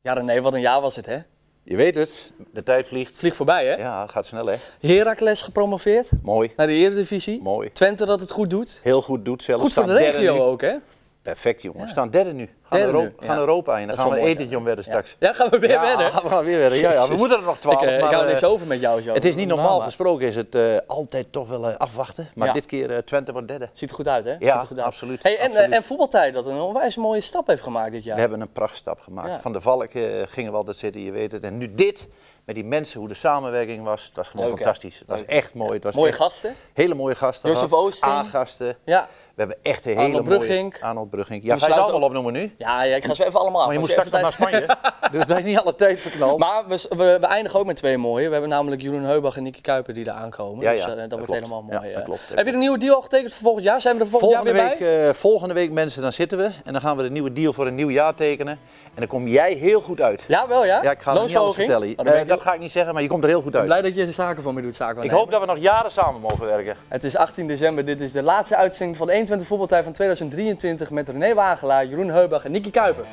Ja René, wat een jaar was het hè? Je weet het, de tijd vliegt. Vlieg voorbij hè? Ja, het gaat snel hè. Heracles gepromoveerd Mooi, naar de Eredivisie. mooi. Twente dat het goed doet. Heel goed doet zelfs. Goed voor de Staan derde regio nu. ook hè? Perfect jongen, staan derde nu. Gaan, Derde Europa, nu, gaan ja. Europa Dat in, dan is gaan we wel mooi, etentje om werden Dus straks. Ja, gaan we weer verder. we gaan weer verder. Ja, ja, we Jezus. moeten er nog Ik, twaalf. eh, ik maar, hou eh, niks over met jou zo. Het is niet normaal maar- gesproken, is het eh, altijd toch wel eh, afwachten. Maar Ja. dit keer eh, Twente wordt derde. Ziet er goed uit hè? Ja, Ziet er goed uit. absoluut, Hey, en, eh, absoluut. en voetbaltijd dat een onwijs mooie stap heeft gemaakt dit jaar. We hebben een prachtstap gemaakt. Ja. Van de Valk eh, gingen we altijd zitten, je weet het. En nu dit, met die mensen, hoe de samenwerking was. Het was gewoon Leuk, hè? fantastisch. Het was echt mooi. Het was Mooie echt gasten. Hele mooie gasten. Jozef gehad. Oosting. A-gasten. Ja. We hebben echt een hele Arnold mooie... Brugink. Arnold Brugink. Ja, ga je sluiten ze allemaal opnoemen nu? Ja, ja, ik ga ze even allemaal af. Maar je moet Als straks nog Nou, even naar tijd- Spanje. dus dat je niet alle tijd verknalt. Maar we, we, we eindigen ook met twee mooie. We hebben namelijk Jeroen Heubach en Nicky Kuiper die daar aankomen. Ja, dus ja, eh, dat, dat wordt klopt. helemaal Ja, mooi. dat eh. klopt, dat Heb je een nieuwe deal al getekend voor volgend jaar? Zijn we er volgend volgende, jaar weer week, bij? eh, volgende week, mensen, dan zitten we. En dan gaan we de nieuwe deal voor een nieuw jaar tekenen. En dan kom jij heel goed uit. Ja, wel ja? Ja, ik ga het niet alles Loonsverhoging? vertellen. Oh, dan ben Eh, ik dat heel- ga ik niet zeggen, maar je komt er heel goed uit. blij dat je er zaken van me doet, zaken van Ik Nijmegen. hoop dat we nog jaren samen mogen werken. Het is 18 december. Dit is de laatste uitzending van de 21 Voetbaltijd van 2023 met René Wagelaar, Jeroen Heubach en Nicky Kuiper.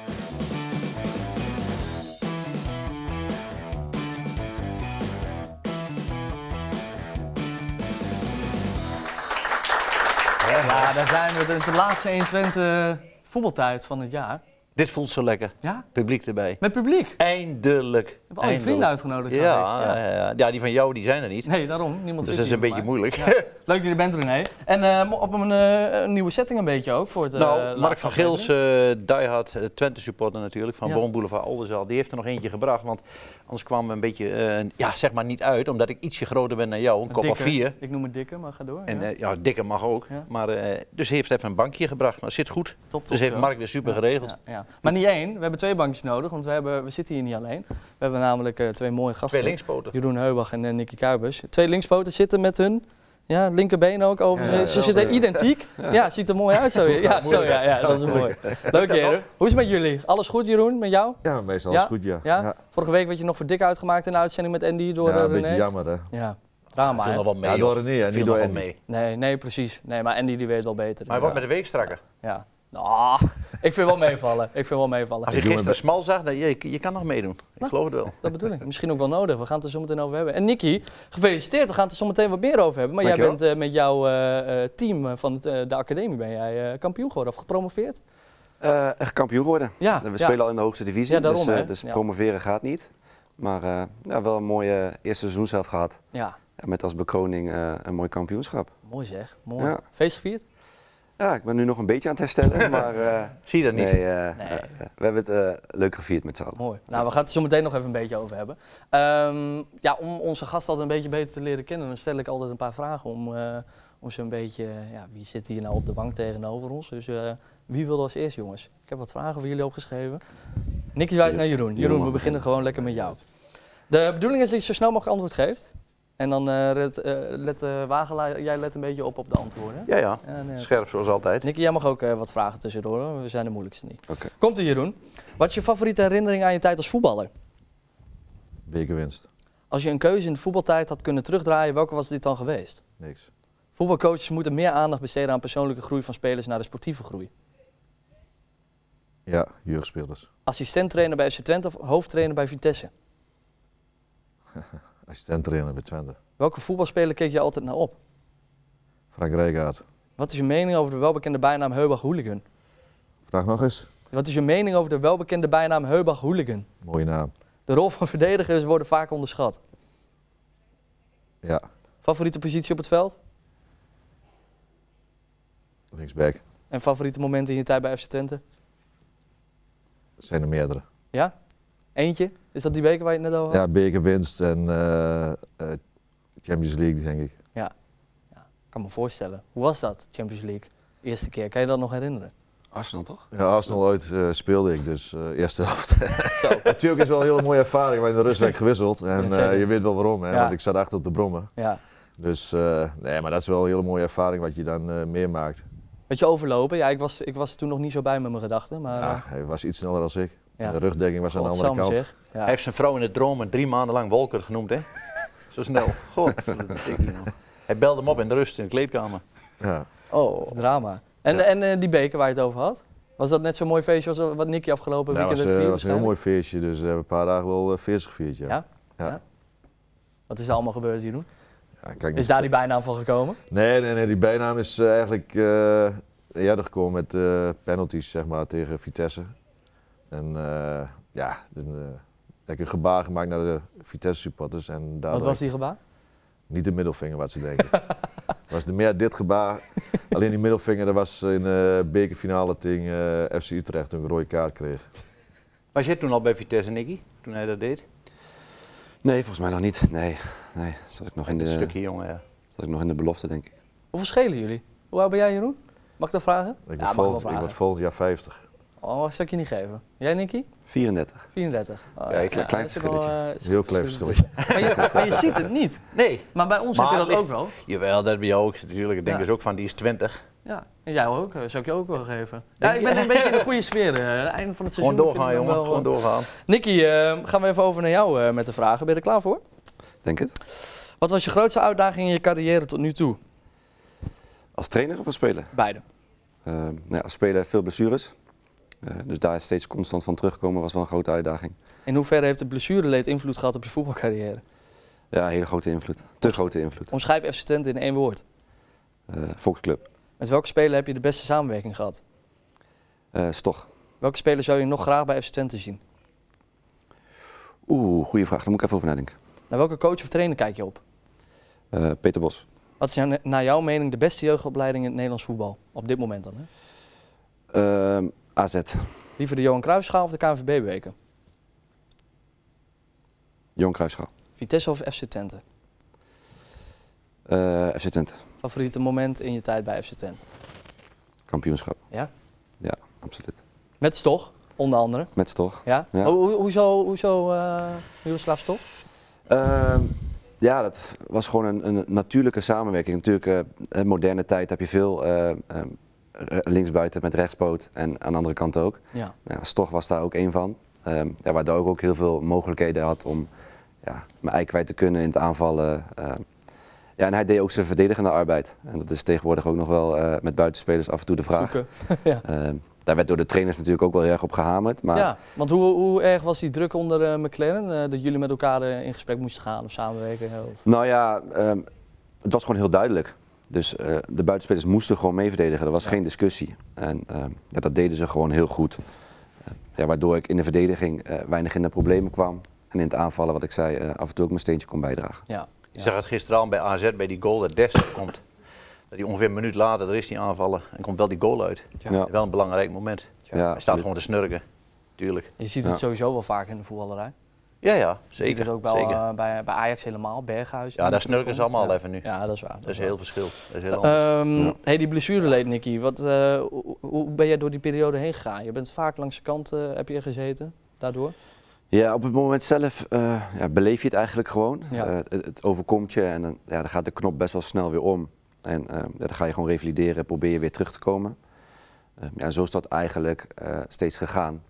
Ja, daar zijn we. Het is de laatste 21 Voetbaltijd van het jaar. Dit voelt zo lekker. Ja, Publiek erbij. met publiek. We Eindelijk. We hebben al je vrienden uitgenodigd. Ja, zag ik. ja. ja. ja, die van jou die zijn er niet. Nee, daarom. Niemand dus zit dat is hier een voor beetje mij. moeilijk. Leuk dat je er bent, René. En eh, op een eh, nieuwe setting een beetje ook voor het. eh, nou, laatste Mark van aflevering. Geels, eh diehard eh, Twente supporter natuurlijk, van Ja. Woonboulevard Oldenzaal. Die heeft er nog eentje gebracht, want anders kwamen we een beetje, eh, ja zeg maar niet uit. Omdat ik ietsje groter ben dan jou, een eh, kop of Dikke. vier. Ik noem het dikke, maar ga door. En ja. eh, ja, dikker mag ook. Ja. Maar, eh, dus hij heeft even een bankje gebracht, maar zit goed. top, top, Dus heeft ja. Mark weer super geregeld. Ja, ja. Maar niet één, we hebben twee bankjes nodig, want we, hebben, we zitten hier niet alleen. We hebben namelijk eh, twee mooie gasten. Twee linkspoten. Jeroen Heubach en eh, Nicky Kuibers. Twee linkspoten zitten met hun ja, linkerbeen ook overigens. Ja, ja, Ze ja. zitten identiek. Ja, het ziet er mooi uit zo. Ja, zo, ja, ja dat is mooi. Leuk Jeroen. Hoe is het met jullie? Alles goed Jeroen, met jou? Ja, meestal Ja? is goed, ja. Ja? ja. Vorige week werd je nog voor dik uitgemaakt in de uitzending met Andy door Ja, eh, een René. beetje jammer, hè. Ja, drama Viel hè? nog wel mee, ja, door joh. René, hè, Viel niet nog door wel Andy. mee. Nee, nee, precies. Nee, maar Andy die weet wel beter. Maar wat met de week strakker? Ja. Nou, ik vind wel meevallen. Ik vind wel meevallen. Als ik doe mijn gisteren smal zag, dan, je, je kan nog meedoen. Ik geloof het wel. Dat bedoel ik. Misschien ook wel nodig. We gaan het er zo meteen over hebben. En Nicky, gefeliciteerd. We gaan het er zo meteen wat meer over hebben. Maar jij bent Dankjewel. eh, met jouw eh, eh, team eh, van het, eh, de academie ben jij eh, kampioen geworden of gepromoveerd. eh echt kampioen worden. Ja, we ja. spelen al in de hoogste divisie, Ja, daarom, dus, eh, hè? dus Ja. promoveren gaat niet. Maar eh, ja, wel een mooie eerste seizoen zelf gehad. Ja, En Met als bekroning eh, een mooi kampioenschap. mooi zeg. Mooi. Ja. Feest gevierd? Ja, ik ben nu nog een beetje aan het herstellen, maar eh, Zie je dat niet? nee, eh, Nee. eh, we hebben het eh, leuk gevierd met z'n allen. Mooi. Nou, we gaan het er zo meteen nog even een beetje over hebben. Ehm, ja, om onze gast altijd een beetje beter te leren kennen, dan stel ik altijd een paar vragen om, eh, om ze een beetje, eh, ja, wie zit hier nou op de bank tegenover ons? Dus eh, wie wil als eerst, jongens? Ik heb wat vragen voor jullie opgeschreven. Nicky wijst naar Jeroen. Jeroen, we mag beginnen gewoon lekker met jou. De bedoeling is dat je zo snel mogelijk antwoord geeft. En dan eh, red- eh, let, eh, Wagelaar, jij let een beetje op op de antwoorden. Ja, ja. En, eh, Scherp zoals altijd. Nicky, jij mag ook eh, wat vragen tussendoor. hoor. We zijn de moeilijkste niet. Oké. Komt ie, Jeroen. Wat is je favoriete herinnering aan je tijd als voetballer? Bekerwinst. Als je een keuze in de voetbaltijd had kunnen terugdraaien, welke was dit dan geweest? Niks. Voetbalcoaches moeten meer aandacht besteden aan persoonlijke groei van spelers naar de sportieve groei. Ja, jeugdspelers. Assistent-trainer bij FC Twente of hoofdtrainer bij Vitesse? Assistent trainer bij Twente. Welke voetbalspeler keek je altijd naar op? Frank Rijkaard. Wat is je mening over de welbekende bijnaam Heubach Hooligan? Vraag nog eens. Wat is je mening over de welbekende bijnaam Heubach Hooligan? Mooie naam. De rol van verdedigers wordt vaak onderschat. Ja, Favoriete positie op het veld? linksback. En favoriete momenten in je tijd bij FC Twente? Dat zijn er meerdere. Ja? Eentje? Is dat die beker waar je het net over had? Ja, bekerwinst en eh, eh, Champions League, denk ik. Ik kan me voorstellen. Hoe was dat, Champions League? Eerste keer. Kan je dat nog herinneren? Arsenal toch? Ja, Arsenal uit eh, speelde ik, dus eh, eerste helft. Zo. Natuurlijk is wel een hele mooie ervaring. maar in de rust werd gewisseld en Dat zeg eh, ik. je weet wel waarom, hè, Ja. want ik zat achter op de brommen. Ja. Dus eh, nee, maar dat is wel een hele mooie ervaring wat je dan eh, meemaakt. Beetje overlopen. Ja, ik was, ik was toen nog niet zo bij met mijn gedachten. Maar Ja, eh, hij was iets sneller dan ik. Ja. De rugdekking was aan de andere godsamme kant. zeg. Ja. Hij heeft zijn vrouw in de dromen drie maanden lang Wolker genoemd, hè? Zo snel. God. Hij belde hem op in de rust in de kleedkamer. Ja. Oh, drama. En, en eh, die beker waar je het over had? Was dat net zo'n mooi feestje als wat Nicky afgelopen Dat was, weekend eh, heeft was een heel gevierd mooi feestje, dus we hebben een paar dagen wel eh, feest gevierd. Ja. Ja? Ja. Ja. waarschijnlijk? Wat is er allemaal gebeurd hier doen? Ja, kan ik Is niet daar die bijnaam van gekomen? Nee, nee, nee, die bijnaam is eh, eigenlijk eh eerder gekomen met eh, penalties zeg maar, tegen Vitesse. En eh, ja, een, eh, heb ik een gebaar gemaakt naar de Vitesse supporters. En daar Wat was die gebaar? Niet de middelvinger wat ze denken. Het was de meer dit gebaar. Alleen die middelvinger, dat was in de bekerfinale tegen eh, FC Utrecht toen ik een rode kaart kreeg. Was jij toen al bij Vitesse, Nicky? Toen hij dat deed? Nee, volgens mij nog niet. Nee, nee. Zat ik nog in Een de, stukje jongen, ja. zat ik nog in de belofte, denk ik. Hoe verschillen jullie? Hoe oud ben jij Jeroen? Mag ik dat vragen? Ik, mag word, wel volgend, ik vragen. word volgend jaar 50. Oh, zou ik je niet geven. Jij Nicky? 34. 34. Oh, Ja, een klein dat is wel, verschilletje. eh, Heel klein verschilletje. Maar je, maar je ziet het niet. Nee. Maar bij ons Maar heb je dat het ook wel. Jawel, dat bij jou ook natuurlijk. Ik denk Ja. dus ook van, die is 20. Ja, en jou ook. eh, Zou ik je ook wel geven. Ja, ik Denk je? ben een beetje in de goede sfeer. eh. Het einde van het Gewoon seizoen. doorgaan, vind ik jongen. wel, eh. Gewoon doorgaan. Nicky, eh, gaan we even over naar jou eh, met de vragen. Ben je er klaar voor? Denk het. Wat was je grootste uitdaging in je carrière tot nu toe? Als trainer of als speler? Beide. Eh, nou ja, als speler veel blessures. Eh, dus daar steeds constant van terugkomen was wel een grote uitdaging. In hoeverre heeft het blessureleed invloed gehad op je voetbalcarrière? Ja, hele grote invloed. Te grote invloed. Omschrijf FC Twente in één woord. Eh Volksclub. Met welke speler heb je de beste samenwerking gehad? Eh Stoch. Welke speler zou je nog graag bij FC Twente zien? Oeh, goede vraag. Daar moet ik even over nadenken. Naar welke coach of trainer kijk je op? Eh, Peter Bos. Wat is jou- naar jouw mening de beste jeugdopleiding in het Nederlands voetbal? Op dit moment dan. Hè? Eh, AZ. Liever de Johan Cruijffschaal of de KNVB-beker? Jon Cruijffschaal. Vitesse of FC Twente? Eh, FC Twente. Favoriete moment in je tijd bij FC Twente? Kampioenschap. Ja? Ja, absoluut. Met Stoch, onder andere. Met Stoch. Ja? Ja. Ho- ho- hoezo hoezo eh Miroslav Stoch? Ehm, ja, dat was gewoon een, een natuurlijke samenwerking. Natuurlijk, eh, in moderne tijd heb je veel eh, ehm, re- linksbuiten met rechtspoot en aan de andere kant ook. Ja. Nou Ja, Stoch was daar ook één van. Ehm ja, waardoor ik ook heel veel mogelijkheden had om ja, mijn ei kwijt te kunnen in het aanvallen. Ehm, ja, en hij deed ook zijn verdedigende arbeid. En dat is tegenwoordig ook nog wel eh, met buitenspelers af en toe de vraag. Zoeken. Ehm, daar werd door de trainers natuurlijk ook wel heel erg op gehamerd. Maar Ja, want hoe, hoe erg was die druk onder eh, McLaren? eh, dat jullie met elkaar eh, in gesprek moesten gaan of samenwerken? eh, Of... Nou ja, ehm, het was gewoon heel duidelijk. Dus eh, de buitenspelers moesten gewoon mee verdedigen. Er was Ja. geen discussie. En ehm, ja, dat deden ze gewoon heel goed. Eh, ja, waardoor ik in de verdediging eh, weinig in de problemen kwam. En in het aanvallen, wat ik zei, eh, af en toe ook mijn steentje kon bijdragen. Ja. Je zag het gisteravond bij AZ, bij die goal dat Dest komt. Dat hij ongeveer een minuut later, er is die aanvallen. En komt wel die goal uit. Ja, Wel een belangrijk moment. ja, hij staat absoluut. gewoon te snurken. Tuurlijk. Je ziet het Ja. sowieso wel vaak in de voetballerij. Ja, ja. Je ziet het Zeker. ook wel zeker. eh, bij, bij Ajax helemaal, Berghuis. Ja, Eh, daar snurken ze allemaal Ja. even nu. Ja, dat is waar. Dat is heel verschil. Dat is heel anders. Ehm Ja. hey, die blessureleed, Nicky. Wat, eh, hoe, hoe ben jij door die periode heen gegaan? Je bent vaak langs de kant eh, heb je gezeten, daardoor. Ja, op het moment zelf eh, ja, beleef je het eigenlijk gewoon. Ja. Eh, het, het overkomt je en dan, ja, dan gaat de knop best wel snel weer om. En eh, ja, dan ga je gewoon revalideren, probeer je weer terug te komen. Eh, ja, zo is dat eigenlijk eh, steeds gegaan.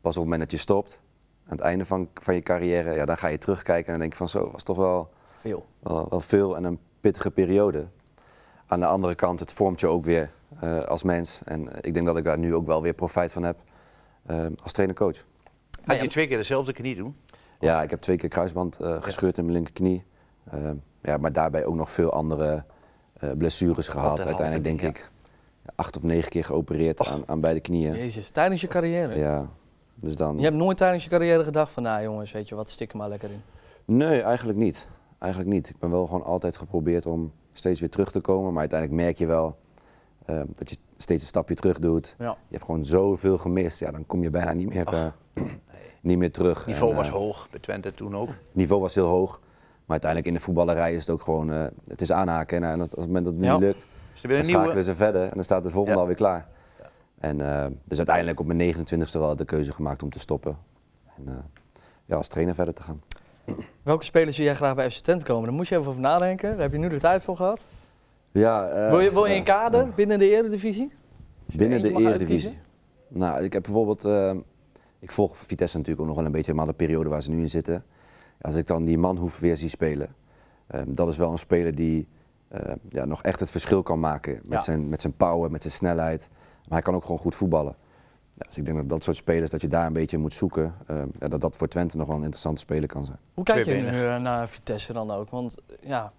Pas op het moment dat je stopt, aan het einde van, van je carrière, ja, dan ga je terugkijken en dan denk je van zo, was toch wel, Veel. wel, wel veel en een pittige periode. Aan de andere kant, het vormt je ook weer eh, als mens. En eh, ik denk dat ik daar nu ook wel weer profijt van heb eh, als trainer-coach. Had je twee keer dezelfde knie doen? Ja, ik heb twee keer kruisband eh, gescheurd in mijn linkerknie. Ehm, ja, maar daarbij ook nog veel andere eh, blessures gehad. de Uiteindelijk halve denk ding, ik acht of negen keer geopereerd aan, aan beide knieën. Jezus, tijdens je carrière. Ja, dus dan... Je hebt nooit tijdens je carrière gedacht van, nou jongens, weet je wat, stik er maar lekker in. Nee, eigenlijk niet. Eigenlijk niet. Ik ben wel gewoon altijd geprobeerd om steeds weer terug te komen. Maar uiteindelijk merk je wel ehm, dat je steeds een stapje terug doet. Ja. Je hebt gewoon zoveel gemist. Ja, dan kom je bijna niet meer, eh, niet meer terug. Niveau En, was eh, hoog bij Twente toen ook. niveau was heel hoog. Maar uiteindelijk in de voetballerij is het ook gewoon, eh, het is aanhaken. En, eh, en als, als het moment dat het niet Ja. lukt, Is er weer dan een schakelen nieuwe? ze verder en dan staat het volgende Ja. alweer klaar. En, eh, dus uiteindelijk op mijn 29ste wel de keuze gemaakt om te stoppen. En eh, ja, als trainer verder te gaan. Welke spelers zie jij graag bij FC Twente komen? Daar moest je even over nadenken. Daar heb je nu de tijd voor gehad. Ja, eh, wil je, wil je eh, een kader binnen de Eredivisie? binnen eentje de mag Eredivisie. Nou, ik heb bijvoorbeeld, eh, ik volg Vitesse natuurlijk ook nog wel een beetje, maar de periode waar ze nu in zitten. Als ik dan die Manhoef weer zie spelen, eh, dat is wel een speler die eh, ja, nog echt het verschil kan maken. Met, Ja. zijn, met zijn power, met zijn snelheid. Maar hij kan ook gewoon goed voetballen. Ja, dus ik denk dat dat soort spelers, dat je daar een beetje in moet zoeken, eh, ja, dat dat voor Twente nog wel een interessante speler kan zijn. Hoe kijk je nu Tweebenig. eh, naar Vitesse dan ook? Want eh, ja,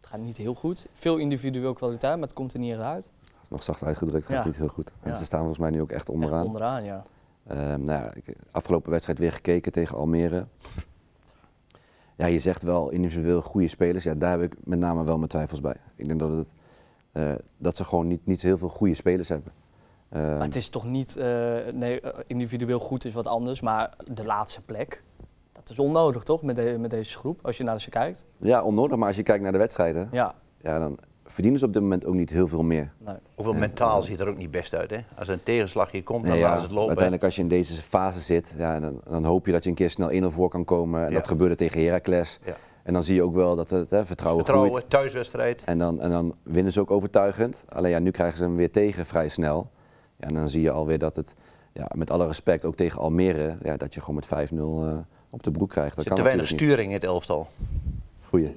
het gaat niet heel goed. Veel individueel kwaliteit, maar het komt er niet echt uit. Dat is nog zacht uitgedrukt, gaat Ja. niet heel goed. En Ja. ze staan volgens mij nu ook echt Echt onderaan. onderaan, ja. Ehm, nou ja, ik- afgelopen wedstrijd weer gekeken tegen Almere. Ja, je zegt wel individueel goede spelers. Ja, daar heb ik met name wel mijn twijfels bij. Ik denk dat, het, eh, dat ze gewoon niet, niet heel veel goede spelers hebben. Ehm, Maar het is toch niet, eh, nee, eh, individueel goed is wat anders, maar de laatste plek, dat is onnodig toch met, de- met deze groep, als je naar ze kijkt? Ja, onnodig, maar als je kijkt naar de wedstrijden, ja. Ja, dan verdienen ze op dit moment ook niet heel veel meer. nee. Hoeveel mentaal ziet er ook niet best uit, hè? Als er een tegenslag hier komt, dan Nee, laten ja, ze het lopen. uiteindelijk als je in deze fase zit, ja, dan, dan hoop je dat je een keer snel 1-0 voor kan komen. En Ja. Dat gebeurde tegen Heracles. Ja. En dan zie je ook wel dat het hè, vertrouwen, groeit. Vertrouwen, thuiswedstrijd. En dan, en dan winnen ze ook overtuigend. Alleen ja, nu krijgen ze hem weer tegen vrij snel. Ja, en dan zie je alweer dat het, ja, met alle respect, ook tegen Almere, ja, dat je gewoon met 5-0 eh, op de broek krijgt. Er Dat zit kan te weinig natuurlijk sturing in het elftal. niet. Goeie.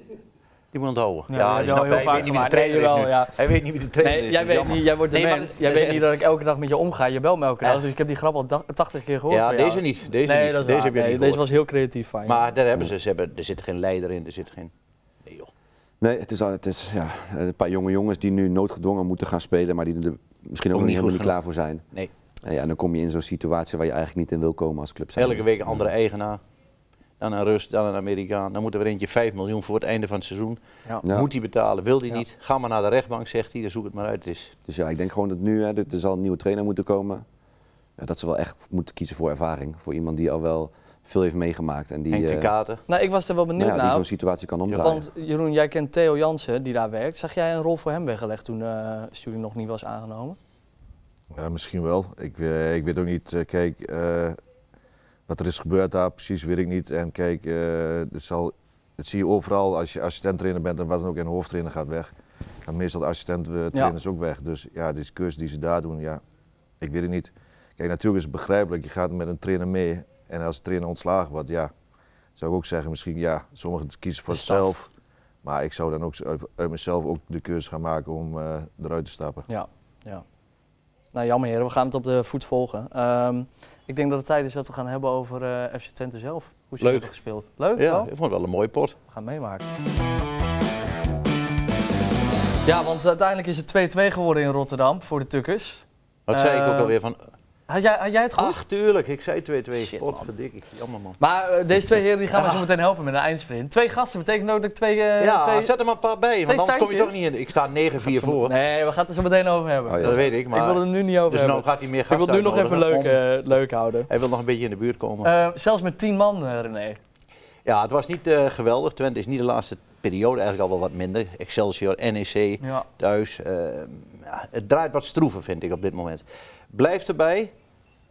Die moet onthouden. Ja, dat heb je je al snapt, heel hij vaak weet niet wie de gemaakt. trainer Nee, is nu. jawel, ja. Hij weet niet wie de trainer Nee, is. jij dat is weet jammer. niet, jij wordt de Nee, maar mens. dat is- Jij dat is weet niet echt- dat ik elke dag met je omga. Je belt me elke dag, Eh. dus ik heb die grap al da- 80 keer gehoord. Ja, van jou. deze niet. Deze nee, niet. dat is deze waar. heb je Nee, niet deze gehoord. was heel creatief van je. Maar daar hebben ze, ze hebben, er zit geen leider in, er zit geen... Nee joh. Nee, het is, al- het is ja, een paar jonge jongens die nu noodgedwongen moeten gaan spelen, maar die er misschien ook, Ook nog niet helemaal goed niet klaar voor zijn. Nee. En, ja, en dan kom je in zo'n situatie waar je eigenlijk niet in wil komen als club. Elke week een andere eigenaar. Dan een Rus, dan een Amerikaan. Dan moet er weer eentje 5 miljoen voor het einde van het seizoen. Ja. Ja. Moet hij betalen, wil hij Ja. niet. Ga maar naar de rechtbank, zegt hij. Dan zoek het maar uit. Het is Dus ja, ik denk gewoon dat nu, hè, er er zal een nieuwe trainer moeten komen. Ja, dat ze wel echt moeten kiezen voor ervaring. Voor iemand die al wel veel heeft meegemaakt. En die, Henk ten eh, Katen. Nou, ik was er wel nou benieuwd ja, die naar. zo'n situatie kan omdraaien. Want Jeroen, jij kent Theo Jansen, die daar werkt. Zag jij een rol voor hem weggelegd toen eh Sturing nog niet was aangenomen? Ja, misschien wel. Ik, eh, ik weet ook niet, eh, kijk, eh, wat er is gebeurd daar precies weet ik niet. En kijk, eh, het zal, dat zie je overal als je assistent-trainer bent en wat dan ook, en de hoofdtrainer gaat weg. En meestal de assistent-trainers ook weg. Dus ja, die keuze die ze daar doen, ja, ik weet het niet. Kijk, natuurlijk is het begrijpelijk, je gaat met een trainer mee en als de trainer ontslagen wordt, ja, zou ik ook zeggen, misschien ja, sommigen kiezen voor De staf. zichzelf. Maar ik zou dan ook uit, uit mezelf ook de keuze gaan maken om eh, eruit te stappen. Ja, ja. Nou, jammer heren, we gaan het op de voet volgen. Ehm, ik denk dat het tijd is dat we gaan hebben over eh, FC Twente zelf. Hoe ze Leuk. hebben gespeeld. Leuk, Ja, wel? ik vond het wel een mooi pot. We gaan meemaken. Ja, want uiteindelijk is het 2-2 geworden in Rotterdam voor de Tukkers. Dat zei ik Eh, ook alweer van... Had jij, had jij het goed? Ach, tuurlijk. Ik zei 2-2. Shit, Potverdikkie. Jammer man. Maar eh, deze twee heren die gaan we zo meteen helpen met een eindsprint. Twee gasten betekent ook dat ik twee... eh, ja, twee... zet er maar een paar bij, twee want anders kom je feitjes. toch niet in. Ik sta 9-4 voor. Nee, we gaan het er zo meteen over hebben. Oh, ja. Dat weet ik, maar... Ik wil het er nu niet over dus hebben. nou gaat hij meer ik gasten wil het nu nog even uitnodigen leuk, om- eh, leuk houden. Hij wil nog een beetje in de buurt komen. Eh, zelfs met tien man, eh, René. Ja, het was niet eh, geweldig. Twente is niet de laatste periode eigenlijk al wel wat minder. Excelsior, E NEC, Ja. thuis. eh, ja, het draait wat stroever, vind ik, op dit moment. Blijft erbij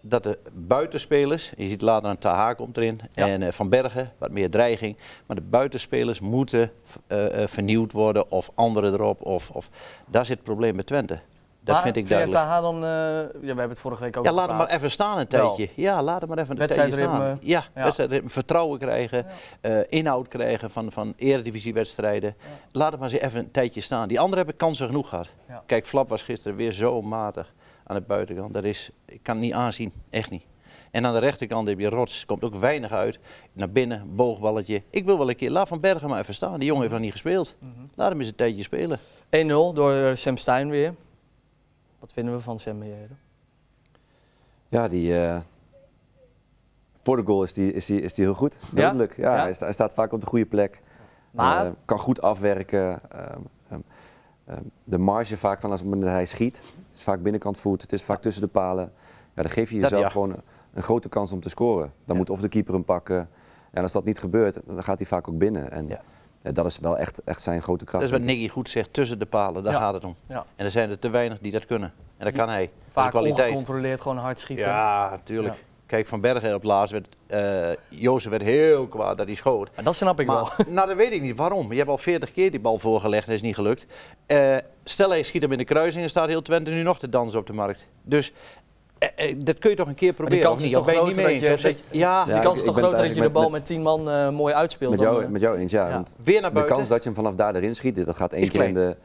dat de buitenspelers... Je ziet later een Taha komt erin. Ja. En eh, Van Bergen, wat meer dreiging. Maar de buitenspelers moeten eh, eh, vernieuwd worden. Of anderen erop. Of, of. Daar zit het probleem bij Twente. Dat Maar vind ik je duidelijk. Taha dan... eh, ja, we hebben het vorige week ook Ja, laat hem maar gepraat. even staan een tijdje. Ja, laat hem maar even een tijdje staan. Wedstrijdritme. Ja, Ja. wedstrijdritme. Vertrouwen krijgen, eh, inhoud krijgen van, van eredivisiewedstrijden. Laat hem maar eens even een tijdje staan. Die anderen hebben kansen genoeg gehad. Ja. Kijk, Flap was gisteren weer zo matig aan de buitenkant. Dat is, ik kan het niet aanzien, echt niet. En aan de rechterkant heb je Rots, komt ook weinig uit. Naar binnen, boogballetje. Ik wil wel een keer, laat Van Bergen maar even staan. Die jongen heeft nog niet gespeeld. Mhm. Laat hem eens een tijdje spelen. 1-0 door eh, Sam Stein weer. Wat vinden we van Sam Meijeren? Ja, die. eh, voor de goal is die, is die, is die heel goed. Ja? Duidelijk. Ja, Ja. Hij, sta- hij staat vaak op de goede plek. Maar Eh, kan goed afwerken. Ehm, ehm, ehm, de marge vaak van als het moment dat hij schiet. Het is vaak binnenkant voet. Het is vaak tussen de palen. Ja, dan geef je Dat jezelf ja. gewoon een, een grote kans om te scoren. Ja. Dan moet of de keeper hem pakken. En als dat niet gebeurt, dan gaat hij vaak ook binnen. En Ja. ja, dat is wel echt, echt zijn grote kracht. Dat is wat denk ik. Nicky goed zegt, tussen de palen, daar Ja. gaat het om. ja, En er zijn er te weinig die dat kunnen. En dat kan hij. dat is vaak kwaliteit. ongecontroleerd gewoon hard schieten. Ja, natuurlijk. Ja. Kijk, Van Bergen op laatst werd... eh Jozef werd heel kwaad dat hij schoot. Maar dat snap ik wel. Maar, nou, dat weet ik niet. Waarom? Je hebt al 40 keer die bal voorgelegd en is niet gelukt. Eh, stel, hij schiet hem in de kruising en staat heel Twente nu nog te dansen op de markt. Dus eh, eh, dat kun je toch een keer proberen, kans of is niet? toch Of ben je niet groter mee dat eens? je- Of zeg je- ja, de Ja, kans ik- is ik toch ben het groter dat je de eigenlijk bal met- met tien man eh, mooi uitspeelt. Met dan, jou, eh, met jou eens, ja. ja. Want weer naar De buiten. kans dat je hem vanaf daar erin schiet, dat gaat één keer klein. in de... Maar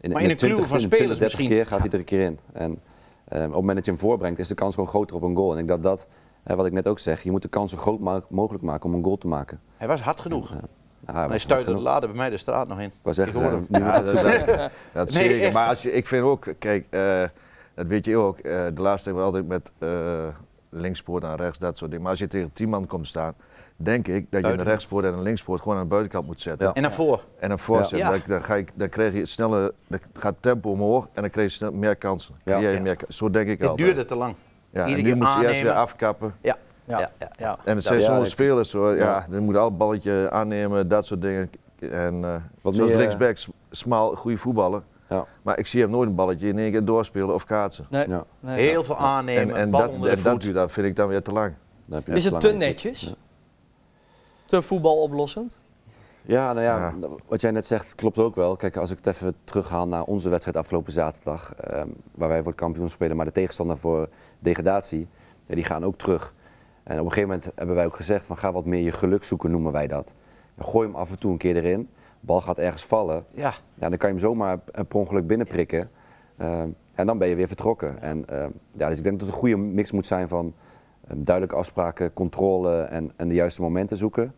in in de een kluwe 20, van 20, spelers 30 misschien. keer gaat hij er een keer in. En Eh, op het moment dat je hem voorbrengt, is de kans gewoon groter op een goal. En ik dacht dat, eh, wat ik net ook zeg, je moet de kans zo groot ma- mogelijk maken om een goal te maken. Nou, Hij was hard genoeg. Ja, En hij stuitte het later bij mij de straat nog in. Ik was echt, Ik hoor eh, hem. die- Ja, dat, dat, dat Nee, zeker. echt. Maar als je, ik vind ook, kijk, eh, dat weet je ook. eh, de laatste tijd altijd met eh linkspoort en rechts, dat soort dingen. Maar als je tegen tien man komt staan, denk ik dat je een Buiten. rechtspoort en een linkspoort gewoon aan de buitenkant moet zetten. Ja. En naar voren. En een voorzet. Ja. Dan, dan, ga ik, dan krijg je sneller, dan gaat tempo omhoog en dan krijg je snel meer kansen. Ja. Creëer je Ja. meer ka- zo denk ik Het altijd. duurde te lang. ja, en iedere nu keer moet je eerst aannemen. weer afkappen. Ja. Ja. Ja, ja, ja. En het zijn ja, zo'n ik- spelers, zo, ja, dan moet je al een balletje aannemen, dat soort dingen. En eh, Wat zoals meer, eh, rechtsback, s- smal, goede voetballer. Ja. Maar ik zie hem nooit een balletje in één keer doorspelen of kaatsen. Nee, Ja. nee. Heel veel En, aannemen, en, bal dat, onder de en dat, voet. duurt- dat vind ik dan weer te lang. Dan heb je Is echt het te lang aan je voet. netjes? Te voetbaloplossend? Ja, nou ja, wat jij net zegt klopt ook wel. Kijk, als ik het even terughaal naar onze wedstrijd afgelopen zaterdag, ehm, waar wij voor het kampioen spelen, maar de tegenstander voor degradatie, ja, die gaan ook terug. En op een gegeven moment hebben wij ook gezegd van ga wat meer je geluk zoeken, noemen wij dat. Gooi hem af en toe een keer erin, bal gaat ergens vallen, Ja, ja, dan kan je hem zomaar eh, per ongeluk binnenprikken. Ehm, en dan ben je weer vertrokken. En, ehm, ja, dus ik denk dat het een goede mix moet zijn van ehm, duidelijke afspraken, controle en, en de juiste momenten zoeken.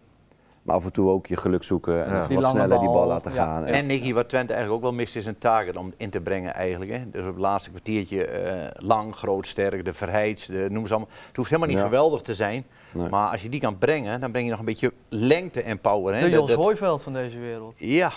Maar af en toe ook je geluk zoeken en Ja. even Die wat lange sneller die bal bal, laten ja. gaan. En- En Nicky, wat Twente eigenlijk ook wel mist, is een target om in te brengen eigenlijk. Hè. Dus op het laatste kwartiertje eh, lang, groot, sterk, de verheids, de, noem ze allemaal. Het hoeft helemaal niet Ja. geweldig te zijn. Nee. Maar als je die kan brengen, dan breng je nog een beetje lengte en power. Hè. De Dat- Jos dat- Hooiveld van deze wereld. ja,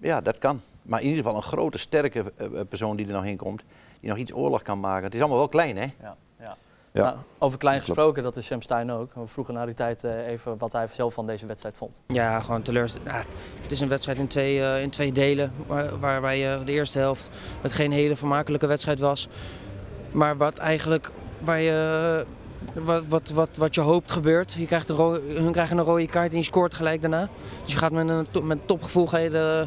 ja, dat kan. Maar in ieder geval een grote, sterke eh, persoon die er nog in komt. Die nog iets oorlog kan maken. Het is allemaal wel klein, hè? Ja, ja. Ja. Nou, over klein Klopt. gesproken, dat is Sam Stein ook. We vroegen naar die tijd eh, even wat hij zelf van deze wedstrijd vond. Ja, gewoon teleurstellend. Ja, het is een wedstrijd in twee, eh, in twee delen. Waar, waarbij eh, de eerste helft het geen hele vermakelijke wedstrijd was. Maar wat eigenlijk waar je, eh, wat, wat, wat, wat je hoopt gebeurt. Je krijgt een ro- hun krijgen een rode kaart en je scoort gelijk daarna. Dus je gaat met een to- met topgevoel ga je de,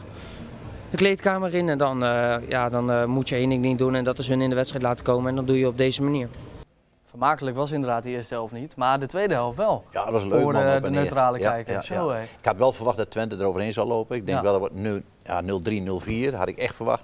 de kleedkamer in. En dan, eh, ja, dan eh, moet je één ding niet doen en dat is hun in de wedstrijd laten komen. En dat doe je op deze manier. Vermakelijk was inderdaad de eerste helft niet, maar de tweede helft wel. Ja, dat was leuk. voor man, de, op de en neer. neutrale Ja, kijker. ja, ja. Zo, hé. Ik had wel verwacht dat Twente eroverheen zou lopen. Ik denk Ja. wel dat wordt nu- ja, 0-3, 0-4. Dat had ik echt verwacht.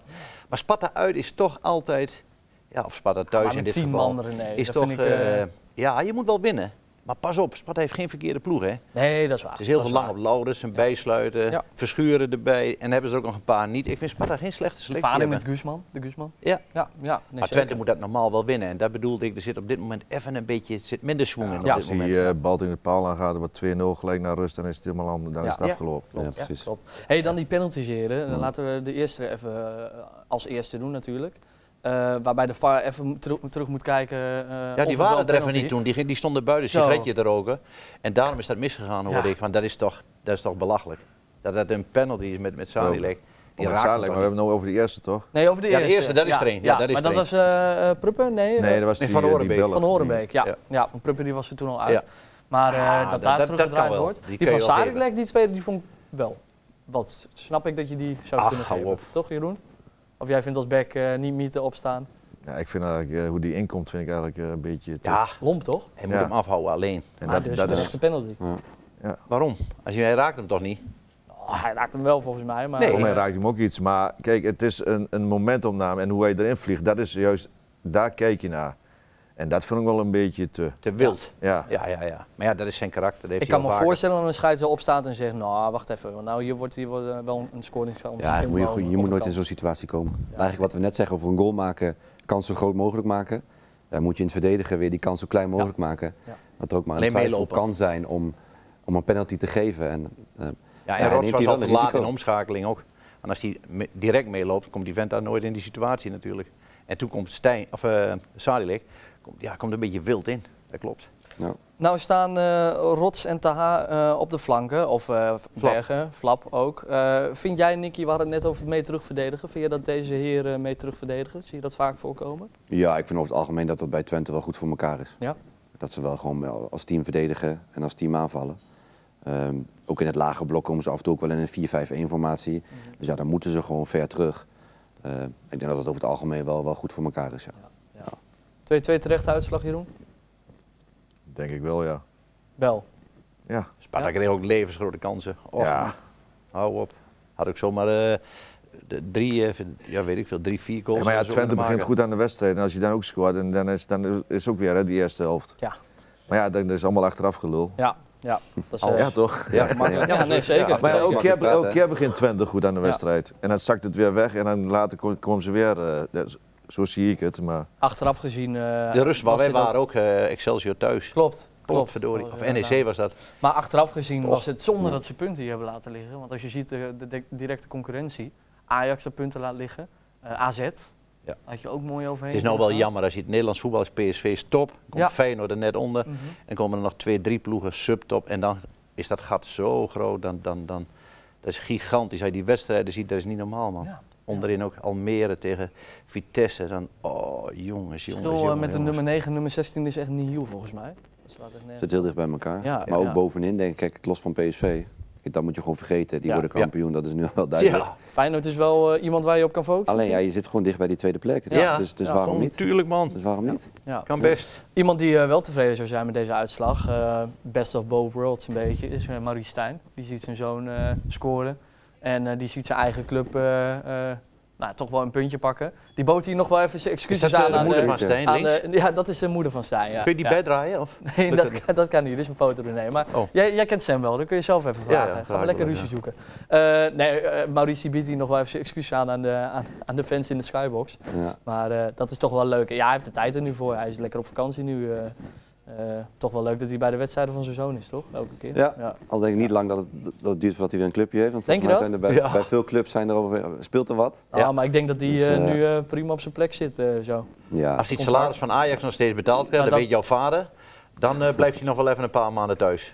Maar Sparta uit is toch altijd... Ja, of Sparta thuis Maar in met dit tien geval. man René, is dat toch... vind ik, eh, eh, ja, je moet wel winnen. Maar pas op, Sparta heeft geen verkeerde ploeg, hè? nee, dat is waar. Het is heel dat veel lang op waar. Laurens, een bijsluiten, Ja. verschuren erbij. En hebben ze er ook nog een paar niet. Ik vind Sparta geen slechte selectie Ervaring met hebben. Guzman, de Guzman. Ja. Ja, ja. nee, Maar zeker. Twente moet dat normaal wel winnen. En daar bedoelde ik, er zit op dit moment even een beetje, het zit minder zwoeng in Ja. op dit Als die moment. eh, bal tegen de paal aangaat, wordt 2-0 gelijk naar rust en is het helemaal anders. Dan Ja. is het Ja. afgelopen. Ja, Ja, precies. klopt. Hey, dan die penalties, heren. Dan Laten we de eerste even eh, als eerste doen natuurlijk. Eh, waarbij de VAR even teru- terug moet kijken. eh, Ja, of die het waren wel er even penalty- niet toen. Die, ging- die stonden buiten Zo. een sigaretje te roken. En daarom is dat misgegaan, hoorde Ja. ik. Want dat is toch, dat is toch belachelijk. Dat dat een penalty is met, met Sadilek. Op het raakt hem zadelijk, maar we toch hebben het nou over de eerste toch? Nee, over de Ja, de eerste. eerste, dat is er één. Ja, dat is maar er dat was eh eh, Pruppen? Nee, eh, Nee, dat was nee, die, Van eh, die Horenbeek. Belg. Van Horenbeek. Ja, Ja. ja. want Pruppen die was er toen al uit. Ja. Maar eh, Ah, dat dat- daar dat- dat kan teruggedraaid wel. wordt. Die Die, kun je van wel Sarikleck, die tweede, die vond ik wel. Wat snap ik dat je die zou Ach, kunnen hou geven. op. Toch, Jeroen? Of jij vindt als back eh, niet mythe opstaan? Ja, ik vind eigenlijk, eh, hoe die inkomt, vind ik eigenlijk eh, een beetje te- niet? Ja, Lomp, toch? hij moet Ja. hem afhouden alleen. En maar dat, dus dat een is echte penalty. Waarom? Als je, hij raakt hem toch niet? Oh, hij raakt hem wel volgens mij, maar... Nee. eh, Nou, Voor mij raakt hij hem ook iets. Maar kijk, het is een, een momentopname. En hoe hij erin vliegt, dat is juist, daar kijk je naar. En dat vind ik wel een beetje te. Te wild. Ja, Ja, ja, ja. Maar ja, dat is zijn karakter. Dat heeft ik hij kan me al vaker. voorstellen dat een scheidsrechter opstaat en zegt... Nou, wacht even, want nou, hier wordt hier wordt, eh, wel een scoring Ja, eigenlijk moet je, je moet nooit in zo'n situatie komen. Eigenlijk wat we net zeggen over een goal maken, kans zo groot mogelijk maken. Dan moet je in het verdedigen weer die kans zo klein mogelijk maken. Ja. Dat er ook maar een Alleen twijfel meelopen. kan zijn om, om een penalty te geven. En, eh, Ja, Ja, en hij Rots neemt was hier al wel te een laat in risico. de omschakeling ook. En als hij me- direct meeloopt, komt die vent daar nooit in die situatie natuurlijk. En toen komt Stijn, of eh Sadilek, komt, ja, komt een beetje wild in. Dat klopt. nou, Nou staan eh, Rots en Taha eh, op de flanken, of eh Bergen, Flap ook. Eh, vind jij, Nicky, we hadden het net over mee terugverdedigen. Vind je dat deze heren mee terugverdedigen? Zie je dat vaak voorkomen? Ja, ik vind over het algemeen dat dat bij Twente wel goed voor elkaar is. Ja. Dat ze wel gewoon wel als team verdedigen en als team aanvallen. Ehm, ook in het lage blok komen ze af en toe ook wel in een 4-5-1 formatie. Mhm. Dus ja, dan moeten ze gewoon ver terug. Ehm, ik denk dat dat over het algemeen wel, wel goed voor elkaar is. Ja. 2-2 terecht uitslag, Jeroen? denk ik wel, ja. Wel. Ja, Sparta Ja? kreeg ook levensgrote kansen. Och, ja. Hou op. Had ook zomaar eh de drie, eh, ja, weet ik veel, drie, vier goals. Ja, maar ja, en zo Twente kunnen begint maken. goed aan de wedstrijd. En als je dan ook scoort, en dan is dan is- is ook weer hè, die eerste helft. Ja. Maar ja, dan dat is allemaal achteraf gelul. Ja, ja. Dat is, eh, Ja, toch? Ja, gemakkelijk. Ja, nee, zeker. Ja, Maar Ja, elke keer, praten, elke hè. keer begint Twente goed aan de wedstrijd. En dan zakt het weer weg en dan later ko- komen ze weer. eh, ja, zo- zo zie ik het. Maar Achteraf gezien. eh, De rust waar was wij dit ook- waren ook eh, Excelsior thuis. Klopt. Klopt. Potverdorie. Of E Ja, nou. NEC was dat. Maar achteraf gezien was het zonde Ja. dat ze punten hier hebben laten liggen. Want als je ziet eh, de, de- directe concurrentie, Ajax dat punten laat liggen, eh, AZ, Ja. had je ook mooi overheen. Het is nou wel jammer als je het Nederlands voetbal is. PSV is top, komt Ja. Feyenoord er net onder. Mhm. En komen er nog twee, drie ploegen subtop. En dan is dat gat zo groot. Dan, dan, dan, dat is gigantisch. Als je die wedstrijden ziet, dat is niet normaal, man. Ja. Onderin ook Almere tegen Vitesse. Dan, oh, jongens, jongens, Verschil, eh, jongens. met de jongens. nummer 9 nummer 16 is echt niet heel volgens mij. Dat slaat echt zit nergens. heel dicht bij elkaar. Ja, maar ook ja. bovenin denk ik, kijk, los van PSV, kijk, dat moet je gewoon vergeten. Die Ja. worden kampioen, dat is nu al wel duidelijk. Ja, Feyenoord is wel eh, iemand waar je op kan focussen. Alleen ja, je zit gewoon dicht bij die tweede plek. Dus, Ja. dus, dus Ja, waarom niet? natuurlijk, man. Dus waarom niet? Ja. Kan best. Iemand die eh, wel tevreden zou zijn met deze uitslag, eh, best of both worlds een beetje, is eh, Marie Stijn. Die ziet zijn zoon eh, scoren en eh, die ziet zijn eigen club eh, eh, nou, toch wel een puntje pakken. Die bood hier nog wel even zijn Is excuses dat eh, aan de aan moeder de- van Stijn, aan links? de- ja, dat is de moeder van Stijn. Ja. Kun je die Ja. bijdraaien? Of? Nee, Lukt dat, het niet? kan- dat kan niet. Dus een foto doen nemen. Maar Oh. jij, jij kent Sam wel, dan kun je zelf even Ja, ja, vragen. Gaan graag we lekker wel, ruzie ja. zoeken. Eh, nee, eh, Mauritie biedt hier nog wel even zijn excuses aan aan de, aan, aan de fans in de skybox. Ja. Maar eh, dat is toch wel leuk. Ja, hij heeft de tijd er nu voor. Hij is lekker op vakantie nu. eh, eh, toch wel leuk dat hij bij de wedstrijden van zijn zoon is, toch? Elke keer. Ja. Al denk ik niet lang dat het, dat het duurt voordat hij weer een clubje heeft. Want Denk je volgens mij dat? zijn er bij, Ja. bij veel clubs zijn er over, speelt er wat. Ah, Ja. Maar ik denk dat hij Dus, eh, eh, nu eh, prima op zijn plek zit. eh, zo. Ja. Als hij het Contract. salaris van Ajax nog steeds betaald krijgt, Ja, dan Nou, dat- weet jouw vader. Dan eh, blijft hij nog wel even een paar maanden thuis.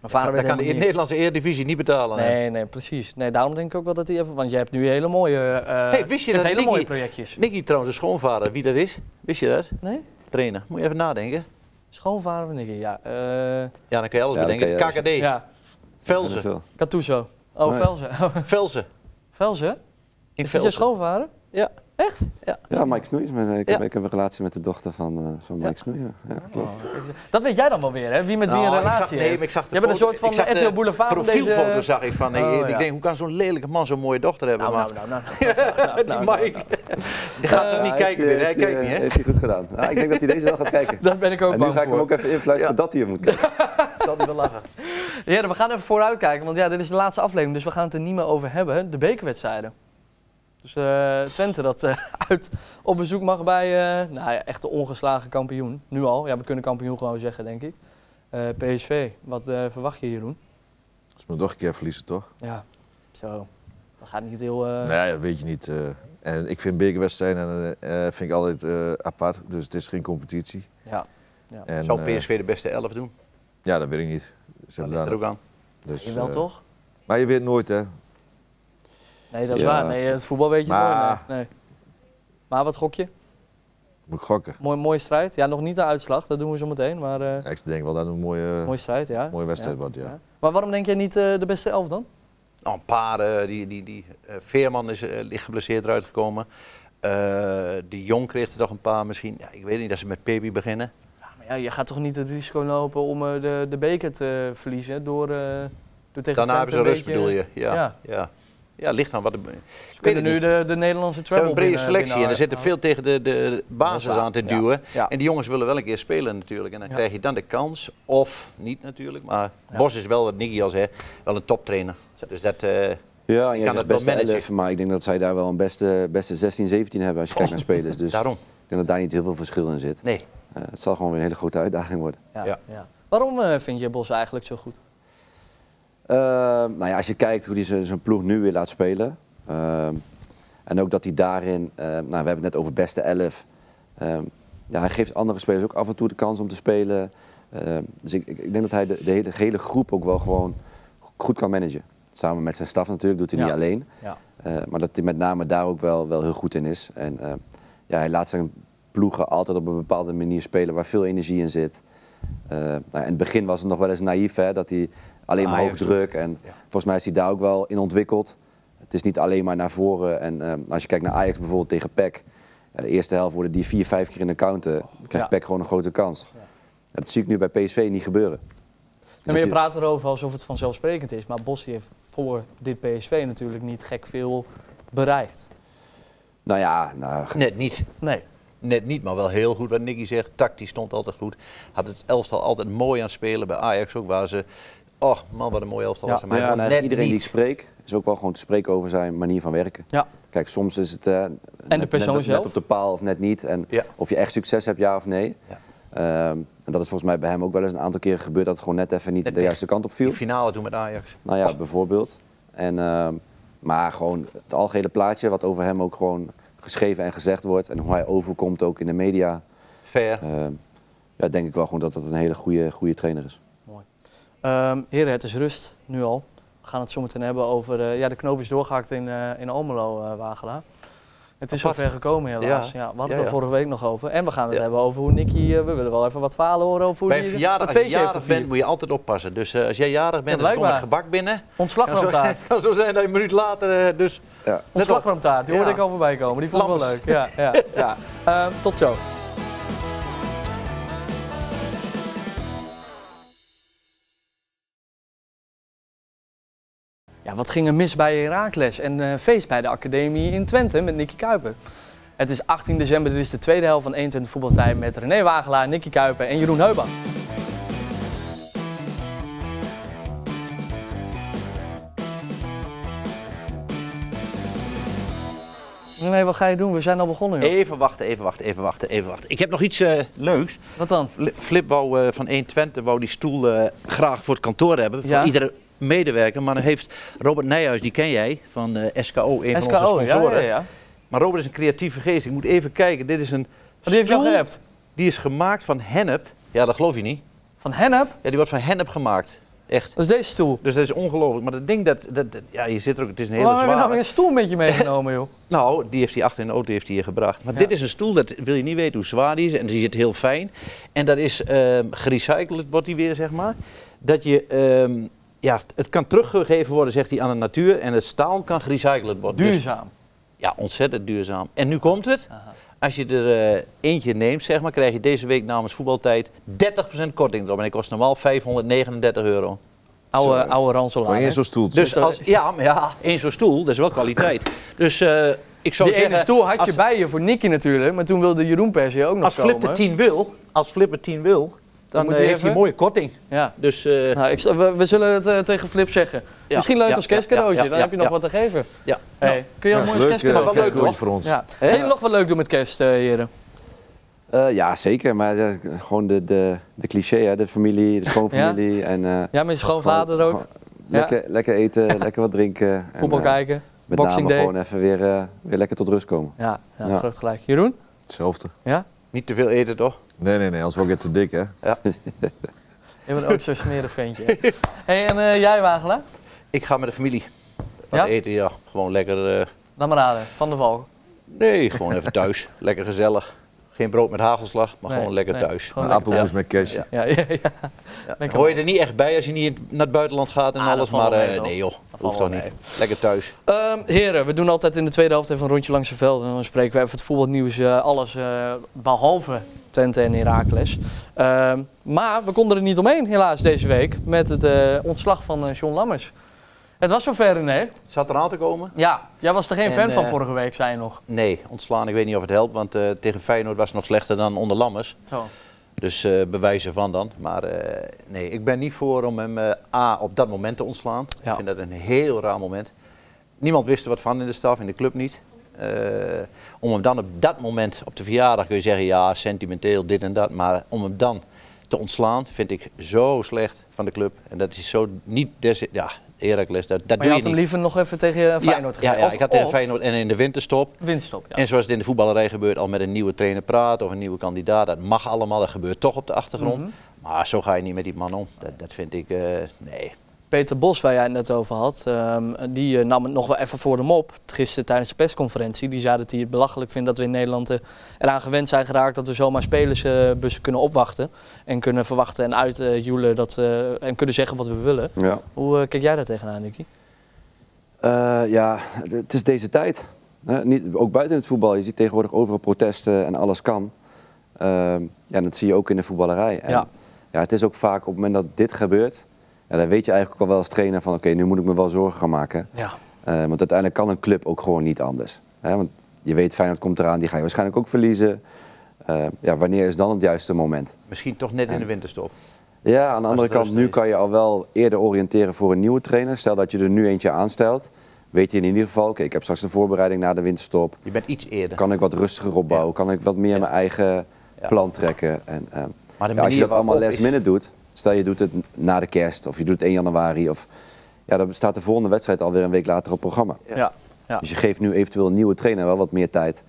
Mijn vader dan weet kan de helemaal niks. Nederlandse Eredivisie niet betalen. hè. Nee, nee, precies. Nee, daarom denk ik ook wel dat hij even... Want jij hebt nu hele mooie... eh, Hey, wist je je hebt dat hele mooie Nicky- projectjes. Nicky trouwens, de schoonvader, wie dat is, wist je dat? Nee? Trainer, moet je even nadenken. Schoonvader van Nicky, ja. eh, Ja, dan kun je alles Ja, dan bedenken. kan je KKD, ja, Er Velzen. zijn er veel. Catuso. Oh, Nee. Velzen. Velzen. Velzen? In Is dat je Velzen. schoonvader? Ja. Echt? Ja, Mike Snoeijs. maar, eh, Ik, heb, Ja. ik heb een relatie met de dochter van, eh, van Mike Ja. Snoei. Ja, Ja, klopt. Dat weet jij dan wel weer, hè? Wie met wie Nou, een ik zag- relatie nee, heeft. maar ik zag de Je bent een foto- soort van ik zag de RTL Boulevard van deze- Profielfoto zag ik van. nee, Oh, ik ja. denk, hoe kan zo'n lelijke man zo'n mooie dochter hebben? Nou, maar nou, nou, nou, nou, nou, nou, nou, die nou, Mike, nou. die gaat er niet Ja, heeft kijken. hij- dit, hè? Hij heeft hij, kijkt niet, eh, hè? Heeft hij goed gedaan. Ah, ik denk dat hij deze wel gaat kijken. Dat ben ik ook En nu bang ga ik hem voor. ook even influisteren dat hij hem moet kijken. Zal hij wel lachen. Heren, we gaan even vooruitkijken, want ja, dit is de laatste aflevering, dus we gaan het er niet meer over hebben. De bekerwedstrijden. Dus eh, Twente dat eh, uit op bezoek mag bij, eh, nou ja, echt de ongeslagen kampioen. Nu al, ja, we kunnen kampioen gewoon zeggen, denk ik. Eh, PSV, wat eh, verwacht je, Jeroen? ze moeten nog een keer verliezen, toch? Ja, zo. Dat gaat niet heel... eh, Nee, dat weet je niet. eh. en ik vind bekerwedstrijden eh, eh, vind ik altijd eh, apart. Dus het is geen competitie. Ja. En, Zou eh, PSV de beste elf doen? ja, dat weet ik niet. Ze Dat hebben ligt er daar, ook aan. dus, je wel eh, toch? Maar je weet nooit, hè? Nee, dat is ja. waar. Nee, het voetbal weet je Maar- nooit. Nee. nee. Maar wat gok je? Moet ik gokken. Mooi, mooie strijd. Ja, nog niet de uitslag, dat doen we zo meteen. Maar eh, Ja, ik denk wel dat het een mooie, mooie strijd, ja. mooie wedstrijd Ja. wordt, ja. Maar waarom denk jij niet eh, de beste elf dan? Nou, een paar, eh, die, die, die eh, Veerman is eh, licht geblesseerd eruit gekomen. Eh, de Jong kreeg er toch een paar misschien. Ja, ik weet niet, dat ze met Pepi beginnen. Ja, maar ja, je gaat toch niet het risico lopen om eh, de, de beker te verliezen door, eh door tegen Daarna hebben Twente ze een rust, beetje- eh, bedoel je. Ja, Ja. ja. ja. ligt aan wat... de- Ze weet kunnen het nu niet. de, de Nederlandse Ze hebben treble een brede binnen- selectie en er binnen- zitten veel tegen de, de basis Dat is waar, aan te ja. duwen. Ja. En die jongens willen wel een keer spelen natuurlijk. En dan Ja. krijg je dan de kans, of niet natuurlijk. Maar Ja. Bos is wel, wat Nicky al zei, wel een toptrainer. Dus dat... eh, Ja, en jij dat zegt wel beste managen. 11, maar ik denk dat zij daar wel een beste, beste 16, 17 hebben als je kijkt naar spelers. Dus Oh. Daarom. ik denk dat daar niet heel veel verschil in zit. Nee. Eh, het zal gewoon weer een hele grote uitdaging worden. Ja, ja. Ja. Waarom eh, vind je Bos eigenlijk zo goed? Nou, Eh, nou ja, als je kijkt hoe hij zijn zijn ploeg nu weer laat spelen. ehm, en ook dat hij daarin, eh, nou, we hebben het net over beste 11. Ehm, ja, hij geeft andere spelers ook af en toe de kans om te spelen. Ehm, dus ik, ik, ik denk dat hij de, de hele, hele groep ook wel gewoon goed kan managen. Samen met zijn staf natuurlijk, doet hij Ja. niet alleen. Ja. Eh, maar dat hij met name daar ook wel, wel heel goed in is. En eh, ja, hij laat zijn ploegen altijd op een bepaalde manier spelen waar veel energie in zit. Eh, nou, in het begin was het nog wel eens naïef hè, dat hij alleen maar hoog Ajax. druk. En Ja. volgens mij is hij daar ook wel in ontwikkeld. Het is niet alleen maar naar voren. En eh, als je kijkt naar Ajax bijvoorbeeld tegen PEC. ja, de eerste helft worden die vier, vijf keer in de counter. Dan krijgt Ja. PEC gewoon een grote kans. Ja. Ja, dat zie ik nu bij PSV niet gebeuren. Nou, maar je Dat die- praat erover alsof het vanzelfsprekend is. Maar Bos die heeft voor dit PSV natuurlijk niet gek veel bereikt? Nou ja, nou, Net niet. Nee. Net niet, maar wel heel goed wat Nicky zegt. Tactisch stond altijd goed. Had het elftal altijd mooi aan het spelen. Bij Ajax ook waar ze... Och man, wat een mooi elftal Ja. was. dat. Maar Maar ja, en net eigenlijk iedereen niet. die ik spreek, is ook wel gewoon te spreken over zijn manier van werken. Ja. Kijk, soms is het eh, net, persoon net, zelf. net op de paal of net niet. En Ja. of je echt succes hebt, ja of nee. Ja. Ehm, en dat is volgens mij bij hem ook wel eens een aantal keren gebeurd dat het gewoon net even niet Net de weg. juiste kant op viel. Die finale toen met Ajax. Nou ja, bijvoorbeeld. En, ehm, maar gewoon het algehele plaatje wat over hem ook gewoon geschreven en gezegd wordt. En hoe hij overkomt ook in de media. Fair. Ehm, ja, denk ik wel gewoon dat dat een hele goede, goede trainer is. Ehm, heren, het is rust, nu al. We gaan het zo meteen hebben over... eh, ja, de knoop is doorgehakt in, eh, in Almelo, eh Wagela. Het is Apart. zover gekomen helaas. Ja. Ja. we hadden het Ja, er ja. vorige week nog over. En we gaan het Ja. hebben over hoe Nicky... eh, we willen wel even wat verhalen horen over hoe Bij een die- verjaardag, dat als je feestje heeft jarig bent, gevierd. moet je altijd oppassen. Dus eh, als jij jarig Ja, bent, dan komt een blijkbaar. gebak binnen. Kan zo, Ontslagramtaart. kan zo zijn dat je een minuut later... eh, dus Ja. let op. Ontslagramtaart, die hoorde Ja. ik al voorbij komen. Die vond ik wel leuk. Lammers. Ja, ja, ja. Ehm, tot zo. Ja, wat ging er mis bij Herakles en eh, feest bij de academie in Twente met Nicky Kuiper? Het is 18 december, dit is de tweede helft van 21 voetbaltijd met René Wagelaar, Nicky Kuiper en Jeroen Heuban. Nee, wat ga je doen? We zijn al begonnen, joh. Even wachten, even wachten, even wachten, even wachten. Ik heb nog iets eh, leuks. Wat dan? Fli- Flip wou, eh, van 1 Twente wou die stoel eh, graag voor het kantoor hebben. Ja. Voor iedere medewerker. Maar dan heeft Robert Nijhuis, die ken jij, van eh, SKO, een van onze SKO, ja, ja, sponsoren. ja. Maar Robert is een creatieve geest. Ik moet even kijken. Dit is een Oh, Die heeft jou stoel geappt. die is gemaakt van hennep. Ja, dat geloof je niet. Van Hennep? Ja, die wordt van hennep gemaakt. Echt. Dat is deze stoel. Dus dat is ongelooflijk. Maar dat ding, dat, dat, dat- ja, je zit er ook, het is een hele Waarom heb je nou zware. weer een stoel met je meegenomen, joh? Nou, die heeft hij achter in de auto heeft hij hier gebracht. Maar Ja. dit is een stoel, dat wil je niet weten hoe zwaar die is. En die zit heel fijn. En dat is ehm, gerecycled, wordt die weer, zeg maar. Dat je, ehm, ja, het kan teruggegeven worden, zegt hij, aan de natuur. En het staal kan gerecycled worden. Dus, Duurzaam. ja, ontzettend duurzaam. En nu komt het. Aha. Als je er eh, eentje neemt, zeg maar, krijg je deze week namens voetbaltijd 30% korting erop. En die kost normaal 539 euro. Oude, Zo. oude Gewoon ranselaar. één hè? zo'n stoeltje. Dus Dus, als, ja, maar ja, één zo'n stoel, dat is wel kwaliteit. Dus eh, ik zou Die zeggen... ene stoel had je als- bij je voor Nicky natuurlijk, maar toen wilde Jeroen Persie ook nog Als komen. Flip de 10 wil, als Flip de 10 wil, dan, moet eh, hij heeft hij even? een mooie korting. Ja. Dus eh, Nou, ik, sta- we, we zullen het eh, tegen Flip zeggen. Ja, Misschien leuk ja, als ja, kerstcadeautje, ja, ja, dan heb je nog ja. wat te geven. ja. Hey, kun je Ja, ook dat mooi is een leuk, eh, kerstcadeautje kerstcadeautje kerstcadeautje toch? voor ons. Ja. Kun je nog wat leuk doen met kerst, eh, heren? Eh, ja, zeker. Maar eh, gewoon de, de, de cliché, hè? de familie, de schoonfamilie. En, eh, Ja, met je schoonvader gewoon- ook. gewoon Lekker, lekker eten, lekker wat drinken. Voetbal en, eh, kijken. Met Boxing name Day. gewoon even weer, eh, weer lekker tot rust komen. Ja, ja, Ja. dat is gelijk. Jeroen? Hetzelfde. Ja? Niet te veel eten, toch? Nee, nee, nee, anders word ik weer te dik, hè. Je bent ook zo'n smerig ventje. hè? hey, en eh, jij, Wagelaar? Ik ga met de familie. Wat Ja? eten, ja. Gewoon lekker... eh, Laat maar raden, Van der Valk. nee, gewoon even thuis. Lekker gezellig. Geen brood met hagelslag, maar Nee, gewoon lekker nee, thuis. gewoon Een lekker appelmoes met cash. Ja. Ja, ja, ja. Ja. Lekker Hoor je er niet echt bij als je niet in- naar het buitenland gaat en Ah, dat alles, valt maar wel eh, mee, toch? nee joh, valt hoeft wel toch niet. Lekker thuis. Ehm, heren, we doen altijd in de tweede helft even een rondje langs het veld. En dan spreken we even het voetbalnieuws, eh, alles eh, behalve Twente en Heracles. Ehm, maar we konden er niet omheen helaas deze week met het eh, ontslag van eh, John Lammers. Het was zover, René. Het zat eraan te komen? Ja, jij was er geen En, fan van eh, vorige week, zei je nog. Nee, ontslaan, ik weet niet of het helpt, want eh, tegen Feyenoord was het nog slechter dan onder Lammers. Zo. Dus eh, bewijzen van dan. Maar eh, nee, ik ben niet voor om hem eh, A op dat moment te ontslaan. Ja. Ik vind dat een heel raar moment. Niemand wist er wat van in de staf, in de club niet. Eh, om hem dan op dat moment, op de verjaardag kun je zeggen, ja, sentimenteel, dit en dat. Maar om hem dan te ontslaan, vind ik zo slecht van de club. En dat is zo niet... Des, ja, Heracles, dat, dat Maar doe je je had hem niet. liever nog even tegen eh, Feyenoord ja, ja, gegeven. ja, Of- ik had tegen of Feyenoord en in de winterstop. Winststop, ja. En zoals het in de voetballerij gebeurt, al met een nieuwe trainer praten of een nieuwe kandidaat. Dat mag allemaal, dat gebeurt toch op de achtergrond. Mhm. Maar zo ga je niet met die man om. Dat, dat vind ik, eh, nee. Peter Bos, waar jij het net over had, ehm, die eh, nam het nog wel even voor hem op. Gisteren tijdens de persconferentie. Die zei dat hij het belachelijk vindt dat we in Nederland eh, eraan gewend zijn geraakt dat we zomaar spelersbussen kunnen opwachten. En kunnen verwachten en uitjoelen dat eh, en kunnen zeggen wat we willen. Ja. Hoe eh, kijk jij daar tegenaan, Nicky? Eh, ja, d- het is deze tijd. Hè, niet, ook buiten het voetbal. Je ziet tegenwoordig overal protesten en alles kan. Ehm, ja, en dat zie je ook in de voetballerij. En, Ja. ja, het is ook vaak op het moment dat dit gebeurt, ja, dan weet je eigenlijk ook al wel als trainer van oké, nu moet ik me wel zorgen gaan maken. Ja. Eh, Eh, want uiteindelijk kan een club ook gewoon niet anders. Hè? Want je weet, Feyenoord komt eraan, die ga je waarschijnlijk ook verliezen. Eh, ja, wanneer is dan het juiste moment? Misschien toch net in de winterstop. Ja, aan de andere het kant, rustig nu is. kan je al wel eerder oriënteren voor een nieuwe trainer. Stel dat je er nu eentje aanstelt, weet je in ieder geval, oké, ik heb straks een voorbereiding na de winterstop. Je bent iets eerder. Kan ik wat rustiger opbouwen? Kan ik wat meer mijn eigen Ja. plan trekken? En, Maar ehm, de ja, als manier je dat allemaal waarop last is- minute doet, stel je doet het na de kerst of je doet het 1 januari of ja, dan staat de volgende wedstrijd alweer een week later op het programma. Ja. Ja. Dus je geeft nu eventueel een nieuwe trainer wel wat meer tijd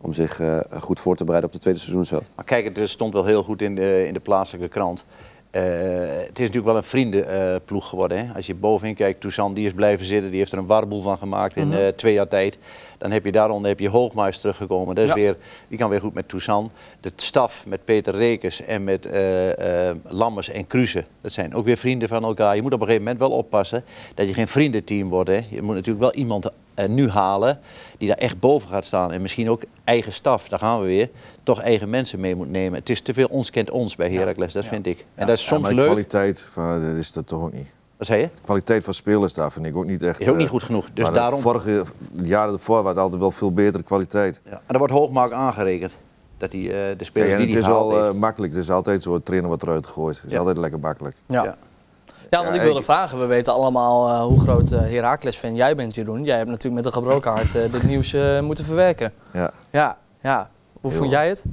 om zich eh, goed voor te bereiden op de tweede seizoenshelft. Maar kijk, het stond wel heel goed in de, in de plaatselijke krant. Eh, het is natuurlijk wel een vriendenploeg geworden. Hè? Als je bovenin kijkt, Toussaint die is blijven zitten. Die heeft er een warboel van gemaakt in eh, twee jaar tijd. Dan heb je daaronder heb je Hoogmuis teruggekomen. Dat is Ja. weer, die kan weer goed met Toussaint. De staf met Peter Rekers en met eh, eh, Lammers en Kruse. Dat zijn ook weer vrienden van elkaar. Je moet op een gegeven moment wel oppassen dat je geen vriendenteam wordt. Hè? Je moet natuurlijk wel iemand eh, nu halen die daar echt boven gaat staan. En misschien ook eigen staf, daar gaan we weer, toch eigen mensen mee moet nemen. Het is te veel ons kent ons bij Heracles, dat vind ik. En dat is Ja, soms maar de leuk. kwaliteit van, eh, dat is dat toch ook niet. Wat zei je? De kwaliteit van spelers daar vind ik ook niet echt... Is ook eh, niet goed genoeg. Dus maar de daarom... vorige jaren ervoor waren het altijd wel veel betere kwaliteit. Ja. En daar wordt Hoogmaak aangerekend. Dat hij eh, de spelers Kijk, die en het die is gehaald wel eh, heeft. makkelijk. Het is altijd zo, het trainer wordt eruit gegooid. Het is Ja. altijd lekker makkelijk. Ja. Ja. Ja. want Ja, ik wilde ik- vragen, we weten allemaal eh, hoe groot eh Heracles-fan jij bent, Jeroen. Jij hebt natuurlijk met een gebroken hart eh, dit nieuws eh, moeten verwerken. Ja. Ja, ja. Hoe Heel. vond jij het?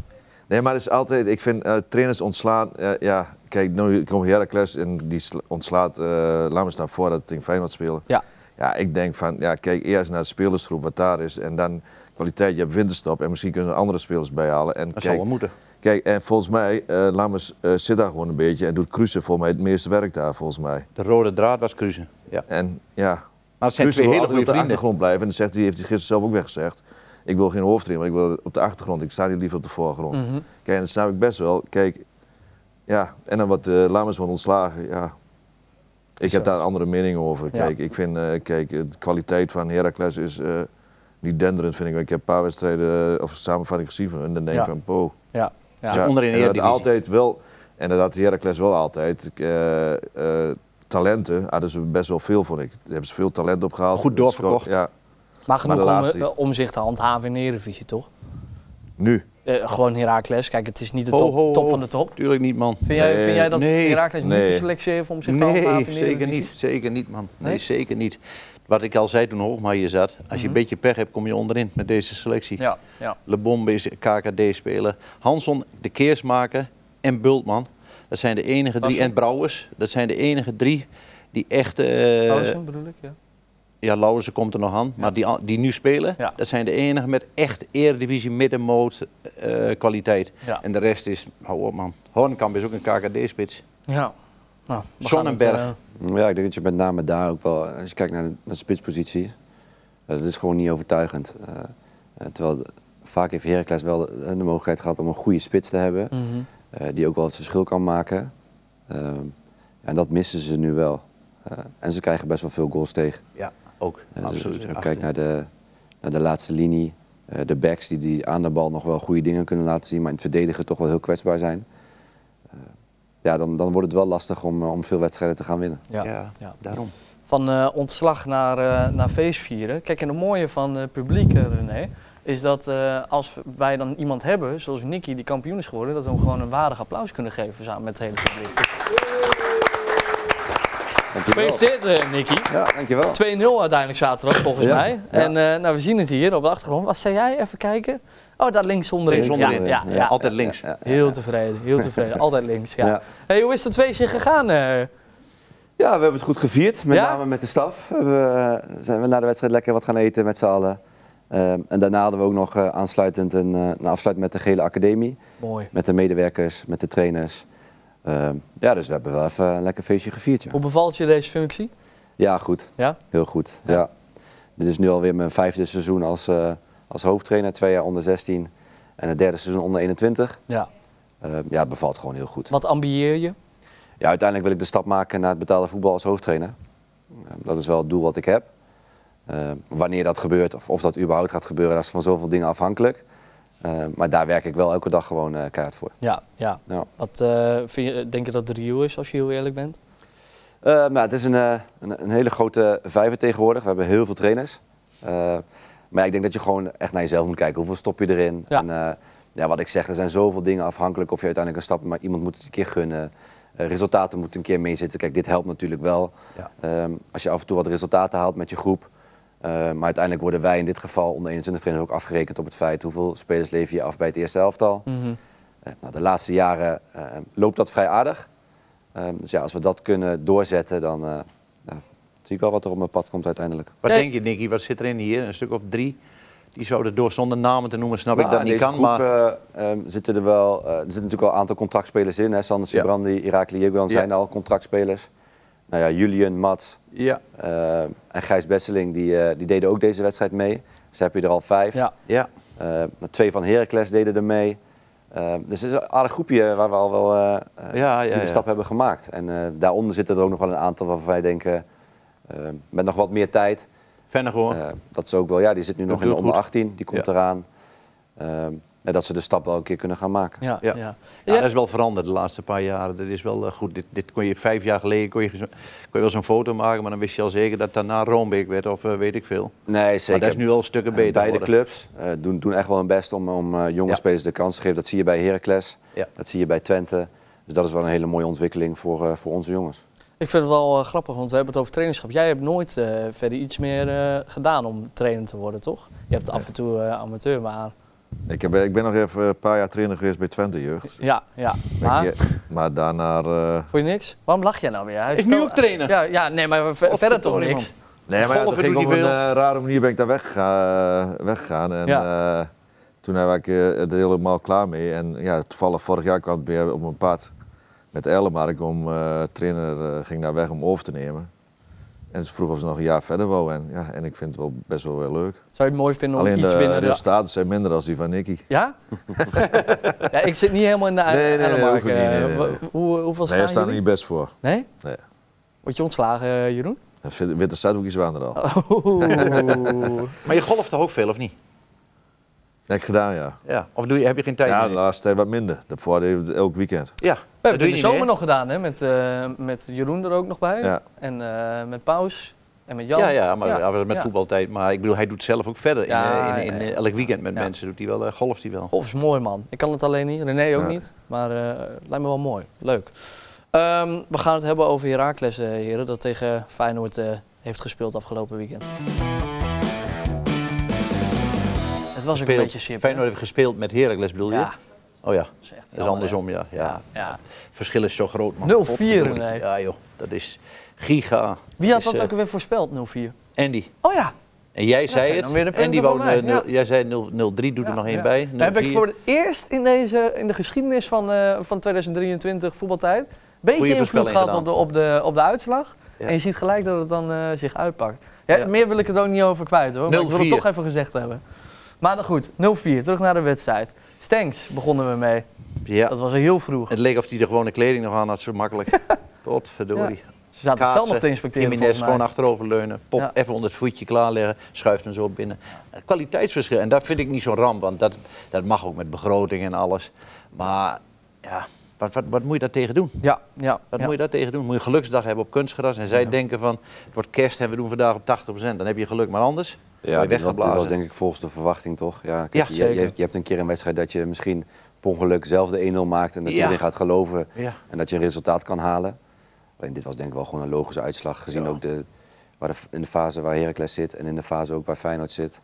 Nee, maar het is altijd, ik vind eh, trainers ontslaan. eh, ja, kijk, nu komt Heracles en die sla- ontslaat, eh laat me staan voor dat het tegen Feyenoord spelen. Ja. Ja, ik denk van, ja, kijk eerst naar de spelersgroep wat daar is en dan kwaliteit. Je hebt winterstop en misschien kunnen er andere spelers bijhalen. En Dat zal kijk, wel moeten. kijk, en volgens mij, eh Lammers eh, zit daar gewoon een beetje en doet Cruze voor mij het meeste werk daar volgens mij. De rode draad was Cruzen. Ja. En ja, Maar het zijn twee Cruze wil Nou, hele goede altijd op de vrienden. achtergrond blijven. En dat zegt, hij, heeft hij gisteren zelf ook weggezegd. Ik wil geen hoofdtrainer, maar ik wil op de achtergrond. Ik sta niet liever op de voorgrond. Mhm. Kijk, en dat snap ik best wel. Kijk, ja, en dan wat eh Lammers van ontslagen, ja. Ik heb daar een andere mening over. Ja. Kijk, ik vind, eh, kijk, eh, de kwaliteit van Heracles is eh, niet denderend, vind ik. Ik heb een paar wedstrijden eh, of samenvatting gezien van hun, dan denk ik Ja. van, po. Dus Ja. Ja. Ja. onderin de en dat had Eredivisie. altijd wel, en dat had Heracles wel altijd. eh, eh, talenten hadden ze best wel veel, vond ik. Daar hebben ze veel talent opgehaald. Goed doorverkocht. Ja, Maar genoeg de om, laatste- eh, om zich te handhaven in de Eredivisie, toch? nu. Eh, gewoon Heracles. Kijk, het is niet de Ho, top, ho, top ho. van de top. Tuurlijk niet, man. Vind jij, Nee, vind jij dat nee, Heracles niet nee. de selectie heeft om zich te handhaven in Nee, de zeker Eredivisie? niet. Zeker niet, man. Nee, Nee? zeker niet. Wat ik al zei toen Hoogma hier zat. Als je Mhm. een beetje pech hebt, kom je onderin met deze selectie. Ja, ja. Lebombe is KKD-speler. Hanson, de Keersmaker en Bultman. Dat zijn de enige drie. Lassen. En Brouwers. Dat zijn de enige drie die echt... eh, Pauzen bedoel ik, ja. ja, Lauwersen komt er nog aan. Maar die, a- die nu spelen, Ja. dat zijn de enige met echt eredivisie middenmoot eh, kwaliteit. Ja. En de rest is... Hou op, man. Hornkamp is ook een KKD-spits. ja. Nou, we gaan Sonnenberg. het, eh, Ja, ik denk dat je met name daar ook wel, als je kijkt naar de, naar de spitspositie, eh, dat is gewoon niet overtuigend. Eh, eh, terwijl de- vaak heeft Heracles wel de, de mogelijkheid gehad om een goede spits te hebben, mhm. eh, die ook wel het verschil kan maken. Ehm, en dat missen ze nu wel. Eh, en ze krijgen best wel veel goals tegen. Ja, ook. Eh, dus absoluut. als je kijkt Achter. naar de, naar de laatste linie, eh, de backs die, die aan de bal nog wel goede dingen kunnen laten zien, maar in het verdedigen toch wel heel kwetsbaar zijn. Eh, ja, dan, dan wordt het wel lastig om, eh, om veel wedstrijden te gaan winnen. Ja. Ja, Ja. daarom. Van eh, ontslag naar, eh naar feestvieren. Kijk, en het mooie van het publiek, eh, René, is dat eh, als wij dan iemand hebben, zoals Nicky, die kampioen is geworden, dat we hem gewoon een waardig applaus kunnen geven samen met het hele publiek. Gefeliciteerd, eh, Nicky. Ja, dankjewel. 2-0 uiteindelijk zaterdag, volgens Ja, mij. ja. En eh, nou, we zien het hier op de achtergrond. Wat zei jij? Even kijken. Oh, daar links onderin. Links onderin. Ja, ja, ja. Altijd links. Heel tevreden, heel tevreden. Altijd links, ja. Ja. Hey, hoe is het feestje gegaan? eh? Ja, we hebben het goed gevierd, met Ja? name met de staf. We eh, zijn we na de wedstrijd lekker wat gaan eten met z'n allen. Ehm, en daarna hadden we ook nog eh, aansluitend een, eh, een afsluit met de Gele Academie. Mooi. Met de medewerkers, met de trainers. Ehm, ja, dus we hebben wel even een lekker feestje gevierd. Ja, Hoe bevalt je deze functie? ja goed. Ja? Heel goed, ja. Dit is nu alweer mijn vijfde seizoen als, eh, als hoofdtrainer. Twee jaar onder 16 en het derde seizoen onder 21. Ja. Ehm, ja, het bevalt gewoon heel goed. Wat ambieer je? Ja, uiteindelijk wil ik de stap maken naar het betaalde voetbal als hoofdtrainer. Eh, Dat is wel het doel wat ik heb. Eh, wanneer dat gebeurt of of dat überhaupt gaat gebeuren, dat is van zoveel dingen afhankelijk. Eh, maar daar werk ik wel elke dag gewoon eh keihard voor. Ja, ja. Ja. Wat, eh, vind je, denk je dat het reëel is, als je heel eerlijk bent? Eh, nou, het is een, eh, een, een hele grote vijver tegenwoordig. We hebben heel veel trainers. Eh, maar ja, ik denk dat je gewoon echt naar jezelf moet kijken. Hoeveel stop je erin? Ja. En, eh, ja, wat ik zeg, er zijn zoveel dingen afhankelijk of je uiteindelijk een stap... Maar iemand moet het een keer gunnen. Eh, resultaten moeten een keer meezitten. Kijk, dit helpt natuurlijk wel. Ja. Ehm, als je af en toe wat resultaten haalt met je groep. Eh, maar uiteindelijk worden wij in dit geval onder 21 trainers ook afgerekend op het feit... hoeveel spelers lever je af bij het eerste elftal. Mhm. Eh, nou, de laatste jaren eh, loopt dat vrij aardig. Eh, dus ja, als we dat kunnen doorzetten, dan eh, ja, zie ik wel wat er op mijn pad komt uiteindelijk. Wat Nee. denk je, Nicky? Wat zit erin hier? Een stuk of drie. Die zouden door zonder namen te noemen, snap Nou, ik dat in niet deze kan. groep, maar eh, ehm, zitten er wel, eh, er zitten natuurlijk al een aantal contractspelers in. Hè? Sander Ja. Sibrandi, Irakli Jegwan Ja. zijn al contractspelers. Nou ja, Julian, Mats ja, eh, en Gijs Besseling, die, eh, die deden ook deze wedstrijd mee. Dus heb je er al vijf. Ja, ja. Eh, twee van Heracles deden er mee. Eh, dus het is een aardig groepje waar we al wel eh, eh, Ja, ja, die de ja. stap hebben gemaakt. En eh, daaronder zitten er ook nog wel een aantal waarvan wij denken, eh, met nog wat meer tijd. Vennegoor. eh, dat ze ook wel, ja, die zit nu nog in de doet onder goed. 18, die komt Ja. eraan. Eh, en dat ze de stap wel een keer kunnen gaan maken. ja, ja. Ja. ja. Ja, dat is wel veranderd de laatste paar jaren. Dat is wel eh, goed. Dit, dit kon je vijf jaar geleden kon je, gezo- kon je wel zo'n foto maken, maar dan wist je al zeker dat daarna Roombeek werd of eh, weet ik veel. Nee, zeker. Maar dat is nu al stukken beter. Beide geworden. clubs eh, doen, doen echt wel hun best om, om eh, jonge Ja. spelers de kans te geven. Dat zie je bij Heracles, Ja. dat zie je bij Twente. Dus dat is wel een hele mooie ontwikkeling voor, eh, voor onze jongens. Ik vind het wel eh, grappig, want we hebben het over trainingschap. Jij hebt nooit eh, verder iets meer eh, gedaan om trainer te worden, toch? Je hebt af en toe eh, amateur, maar Ik, heb, eh, ik ben nog even een paar jaar trainer geweest bij Twente Jeugd. ja, ja. Maar, Maar, maar daarna... eh, vond je niks? Waarom lach jij nou weer? Hij Is nu vertelt- ook trainer. Ja, ja nee, maar ver- verder toch Godverdorie, niks? Nee, maar ja, dat Golven ging doet op een hij veel. eh, rare manier ben ik daar weggegaan. weggegaan en eh, toen was ik eh, er helemaal klaar mee. En ja, toevallig vorig jaar kwam het weer op mijn pad met Ellemark om eh, trainer eh, ging daar weg om over te nemen. En ze vroeg of ze nog een jaar verder wou. En, ja, en ik vind het wel best wel weer Zou leuk. je het mooi vinden om Alleen eh, iets de binnen de... resultaten zijn minder dan die van Nicky. Ja? ja? Ik zit niet helemaal in de Nee, nee, nee, Ademmark, hoeft niet. Nee, eh, nee, wa- nee. Hoe, hoeveel Nee, we staan staan er jullie? niet best voor. Nee? Nee. Word je ontslagen, eh, Jeroen? Witte Zuidhoekjes waren er al. Oeh. Maar je golft toch ook veel, of niet? Heb ik gedaan, ja. Ja. Of doe je, heb je geen tijd Ja, meer? de laatste tijd wat minder. Daarvoor deed ik elk weekend. ja. We Dat hebben doe het je in de niet zomer nog meer. gedaan, hè? Met, eh, met Jeroen er ook nog bij. Ja. En eh, met Paus. En met Jan. Ja, ja, maar ja. met ja. voetbaltijd. Maar ik bedoel, hij doet zelf ook verder. In, Ja, eh, in, in, ja, eh, ja. elk weekend met Ja. mensen doet hij wel, eh, golft hij wel. Golf is mooi, man. Ik kan het alleen niet. René ook Ja. niet. Maar eh, lijkt me wel mooi. Leuk. Ehm, we gaan het hebben over Heracles, eh, heren. Dat tegen Feyenoord eh, heeft gespeeld afgelopen weekend. Het was ook een Speelt- beetje sip. hè? Feyenoord heeft gespeeld met Heracles, bedoel je? Ja, Oh ja, is echt dat is jammer, andersom, ja. hè? Ja, ja. ja. verschil is zo groot, man. 0-4 Godverdorie. nee. Ja joh, dat is giga. Wie had is, dat eh, ook weer voorspeld, 0-4? Andy. Oh ja, En jij zijn zei dan het. weer de En punten die wou, voor mij, eh, nul- ja. Jij zei 0 0-3, doe er Ja, nog één ja. bij. Dan heb ik 0-4. voor het eerst in, deze, in de geschiedenis van, eh, van 2023 voetbaltijd. Beetje Goeie invloed voorspelling gehad gedaan. op de, op, de, op de uitslag. Ja. En je ziet gelijk dat het dan eh, zich uitpakt. Ja, Ja. Meer wil ik het ook niet over kwijt hoor. Maar ik wil het 0-4. toch even gezegd hebben. Maar dan goed, 0-4. Terug naar de wedstrijd. Stanks begonnen we mee. Ja. Dat was al heel vroeg. Het leek of hij de gewone kleding nog aan had, zo makkelijk. Potverdorie. Ze zaten het Kaatsen, veld nog te inspecteren Jiménez volgens mij. gewoon achteroverleunen. Pop Ja. even onder het voetje klaarleggen. Schuift hem zo binnen. Eh, Kwaliteitsverschil. En dat vind ik niet zo'n ramp. Want dat, dat mag ook met begroting en alles. Maar ja, wat, wat, wat moet je daar tegen doen? Ja, ja. Wat ja. moet je daar tegen doen? Moet je een geluksdag hebben op kunstgras. En zij denken van, het wordt kerst en we doen vandaag op 80%. Dan heb je geluk. Maar anders Ja, word dit je was, dit was weggeblazen. denk ik volgens de verwachting toch? Ja, Ja, kijk, je- je, zeker. hebt- je hebt een keer een wedstrijd dat je misschien per ongeluk zelf de 1-0 maakt en dat je Ja. erin gaat geloven Ja. en dat je een resultaat kan halen. Alleen dit was denk ik wel gewoon een logische uitslag gezien ook de, waar de, in de fase waar Heracles zit en in de fase ook waar Feyenoord zit.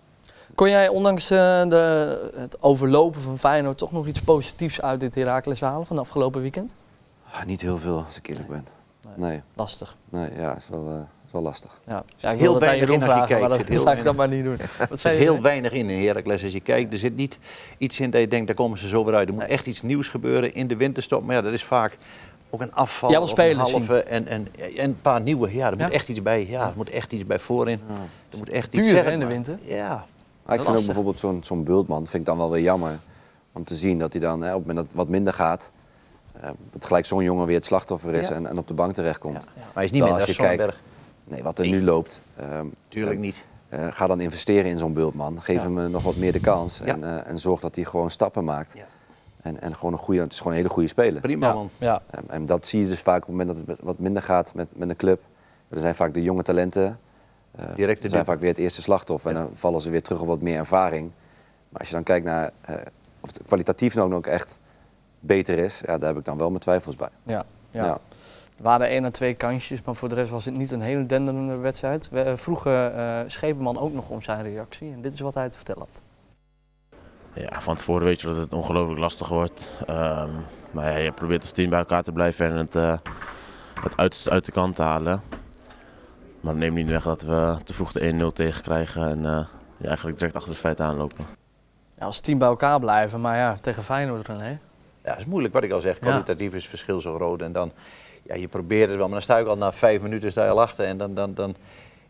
Kon jij ondanks eh, de, het overlopen van Feyenoord toch nog iets positiefs uit dit Heracles halen van afgelopen weekend? Ah, niet heel veel als ik eerlijk ben. Nee. Nee, Lastig. nee ja, is wel, eh, is wel lastig. Ja, ja ik wil heel dat aan weinig Jeroen in als je vragen, maar kijkt. dat Zit heel laat ik dat weinig. maar niet doen. Wat Er zei zit je? heel weinig in in Heracles als je kijkt. Er zit niet iets in dat je denkt, daar komen ze zo weer uit. Er moet echt iets nieuws gebeuren in de winterstop. Maar ja, dat is vaak ook een afval. Jij wil of spelers een halve en, en, en een paar nieuwe. Ja, er moet Ja? echt iets bij. Ja, er moet echt iets bij voorin. Er moet echt Duur, iets hè, zeggen, in de maar- winter? Ja. Maar ik vind Lastig. ook bijvoorbeeld zo'n zo'n Bultman, vind ik dan wel weer jammer. Om te zien dat hij dan hè, op het moment dat het wat minder gaat, eh, dat gelijk zo'n jongen weer het slachtoffer is Ja. en, en op de bank terechtkomt. Maar hij is niet Wel, meer als als je je kijkt- Sonnenberg. Nee, wat er Nee. nu loopt. ehm, Tuurlijk eh, niet. eh, ga dan investeren in zo'n bultman. Geef Ja. hem eh, nog wat meer de kans. Ja. En, eh, en zorg dat hij gewoon stappen maakt. Ja. En, en gewoon een goede, het is gewoon een hele goede speler. Prima ja, man. ja. En, en dat zie je dus vaak op het moment dat het met- wat minder gaat met, met een club. Er zijn vaak de jonge talenten. eh, Directe die zijn dip. vaak weer het eerste slachtoffer. En dan vallen ze weer terug op wat meer ervaring. Maar als je dan kijkt naar eh, of het kwalitatief nou ook echt beter is, ja, daar heb ik dan wel mijn twijfels bij. ja, ja. Er waren één à twee kansjes, maar voor de rest was het niet een hele denderende wedstrijd. We eh, vroegen eh Schepenman ook nog om zijn reactie en dit is wat hij te vertellen had. Ja, van tevoren weet je dat het ongelooflijk lastig wordt. Ehm, maar ja, je probeert als team bij elkaar te blijven en het, eh, het uiterste uit de kant te halen. Maar neem niet weg dat we te vroeg de 1-0 tegenkrijgen en eh, ja, eigenlijk direct achter de feiten aanlopen. Ja, als team bij elkaar blijven, maar ja, tegen Feyenoord René. Ja, dat is moeilijk wat ik al zeg. Ja. Kwalitatief is het verschil zo groot. En dan, ja, je probeert het wel, maar dan sta ik al na vijf minuten sta je al achter. En dan, dan, dan,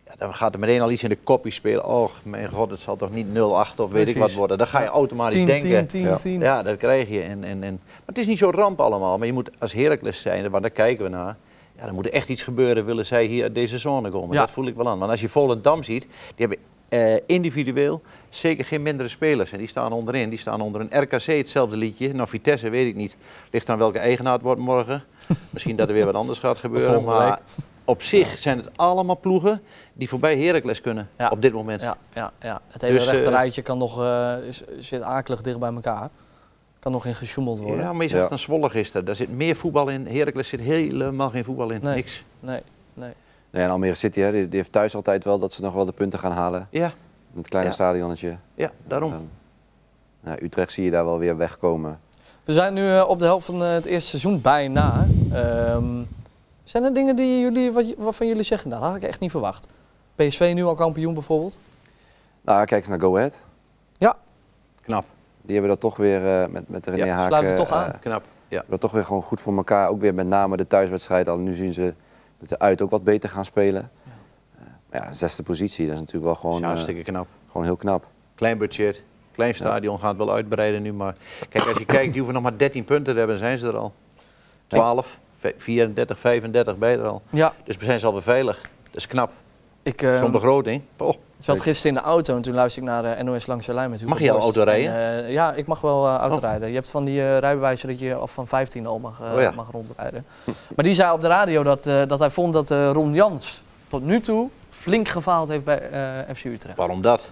ja, dan gaat er meteen al iets in de kopie spelen. Oh mijn god, het zal toch niet 0-8 of weet ik wat Precies. worden. Dan ga je automatisch denken. 10, Ja. 10. Ja, dat krijg je. En, en, en. Maar het is niet zo ramp allemaal. Maar je moet als Heracles zijn, want daar kijken we naar. Ja, dan moet er echt iets gebeuren, willen zij hier uit deze zone komen. Ja. Dat voel ik wel aan. Want als je Volendam ziet, die hebben eh, individueel zeker geen mindere spelers. En die staan onderin. Die staan onder een RKC, hetzelfde liedje. Nou, Vitesse weet ik niet. Ligt aan welke eigenaar het wordt morgen. Misschien dat er weer wat anders gaat gebeuren. Volgende Maar op zich zijn het allemaal ploegen die voorbij Heracles kunnen Ja. op dit moment. Ja, ja, ja. Het hele Dus, eh, rechterrijtje kan nog, eh, is- zit akelig dicht bij elkaar. Kan nog in gesjoemeld worden. Ja, maar je zag Ja. dan Zwolle gisteren. Daar zit meer voetbal in. Heracles zit helemaal geen voetbal in. Nee. Niks. Nee. Nee, Nou en Almere City hè, die, die heeft thuis altijd wel dat ze nog wel de punten gaan halen. Ja, In het kleine Ja. stadionnetje. ja Oh. daarom. Ehm, ja, Nou, Utrecht zie je daar wel weer wegkomen. We zijn nu eh, op de helft van eh, het eerste seizoen bijna. Ehm, zijn er dingen die jullie, wat, waarvan jullie zeggen, nou, dat had ik echt niet verwacht. PSV nu al kampioen bijvoorbeeld. Nou, kijk eens naar Go Ahead. Knap. Die hebben dat toch weer eh, met, met René Ja, Haken... sluiten toch aan. eh, Knap. Ja. dat toch weer gewoon goed voor elkaar. Ook weer met name de thuiswedstrijd. Al nu zien ze dat de uit ook wat beter gaan spelen. Ja. Eh, maar ja, zesde positie. Dat is natuurlijk wel Is gewoon, eh, hartstikke knap. gewoon heel knap. Klein budget. Klein stadion. Gaat wel uitbreiden nu. Maar kijk, als je kijkt, die hoeven nog maar 13 punten te hebben. Dan zijn ze er al. 12, ve- 34, 35 bij er al. Ja, Dus we zijn ze alweer veilig. Dat is knap. ik eh, Zo'n begroting. Oh, zat gisteren in de auto en toen luisterde ik naar eh, NOS Langs de Lijn met Hugo Mag je al Borst. auto rijden? En, eh, ja, ik mag wel eh, auto Oh. rijden. Je hebt van die eh, rijbewijzen dat je af van 15 al mag, eh, Oh ja. mag rondrijden. Maar die zei op de radio dat, eh, dat hij vond dat eh, Ron Jans tot nu toe flink gefaald heeft bij eh, FC Utrecht. waarom dat?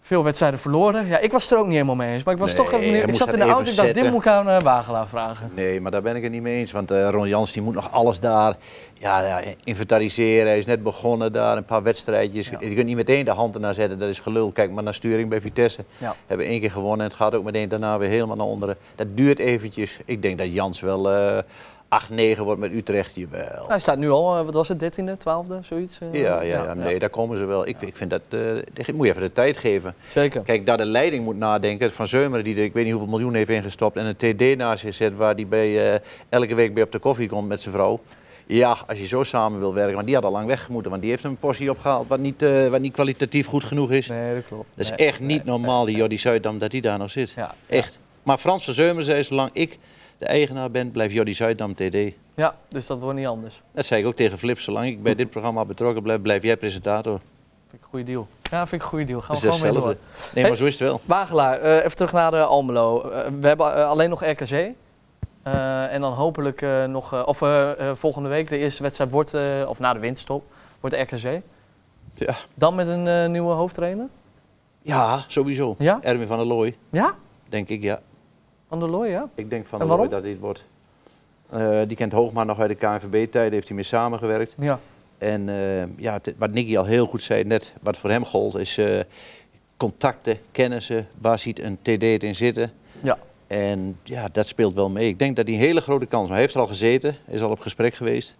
Veel wedstrijden verloren. Ja, ik was er ook niet helemaal mee eens. Maar ik was Nee, toch hij even, Ik moest zat dat in de even auto en dacht, dit zetten. moet ik aan eh, Wagelaar vragen. Nee, maar daar ben ik het niet mee eens. Want eh, Ron Jans die moet nog alles daar ja, ja, inventariseren. Hij is net begonnen daar, een paar wedstrijdjes. Ja. Je kunt niet meteen de hand ernaar zetten, dat is gelul. Kijk maar naar Sturing bij Vitesse. Ja. Hebben één keer gewonnen en het gaat ook meteen daarna weer helemaal naar onderen. Dat duurt eventjes. Ik denk dat Jans wel eh 8-9 wordt met Utrecht. Jawel. Hij staat nu al, eh, wat was het, 13e, 12e, zoiets? eh? Ja, ja, ja, nee, daar komen ze wel. Ik, ik vind dat, eh, die moet je even de tijd geven. Zeker. Kijk, daar de leiding moet nadenken. Van Zeumeren, die er ik weet niet hoeveel miljoen heeft ingestopt. En een TD naast zich zet waar die bij, eh, elke week bij op de koffie komt met zijn vrouw. Ja, als je zo samen wil werken. Want die had al lang weg moeten. Want die heeft een portie opgehaald wat niet, eh, wat niet kwalitatief goed genoeg is. Nee, dat klopt. dus dat is Nee, echt niet nee, normaal, die nee, Jordi Zuidam, dat die daar nog zit. nee. Ja, Echt. Maar Frans van Zeumeren zei, zolang ik de eigenaar ben, blijft Jordi Zuidam TD. ja, dus dat wordt niet anders. Dat zei ik ook tegen Flip. Zolang ik bij dit programma betrokken blijf, blijf jij presentator. Vind ik een goede deal. Ja, vind ik een goede deal. Gaan Dat we is gewoon mee hetzelfde. door. Nee, maar zo is het wel. Wagelaar, eh, even terug naar eh, Almelo. Eh, we hebben eh, alleen nog RKC. Eh, en dan hopelijk eh, nog, eh, of eh, eh, volgende week de eerste wedstrijd wordt, eh, of na de winterstop, wordt RKC. Ja. Dan met een eh, nieuwe hoofdtrainer. Ja, sowieso. Ja? Erwin van der Looy, Ja? denk ik, ja. Van der Looy, ja? Ik denk van En der waarom? Looy dat dit wordt. Eh, die kent Hoogma nog uit de KNVB-tijden, heeft hij mee samengewerkt. Ja. En eh, ja, het- wat Nicky al heel goed zei net, wat voor hem gold, is eh, contacten, kennissen. Waar ziet een TD het in zitten? Ja. En ja, dat speelt wel mee. Ik denk dat hij een hele grote kans maakt. Hij heeft er al gezeten, is al op gesprek geweest.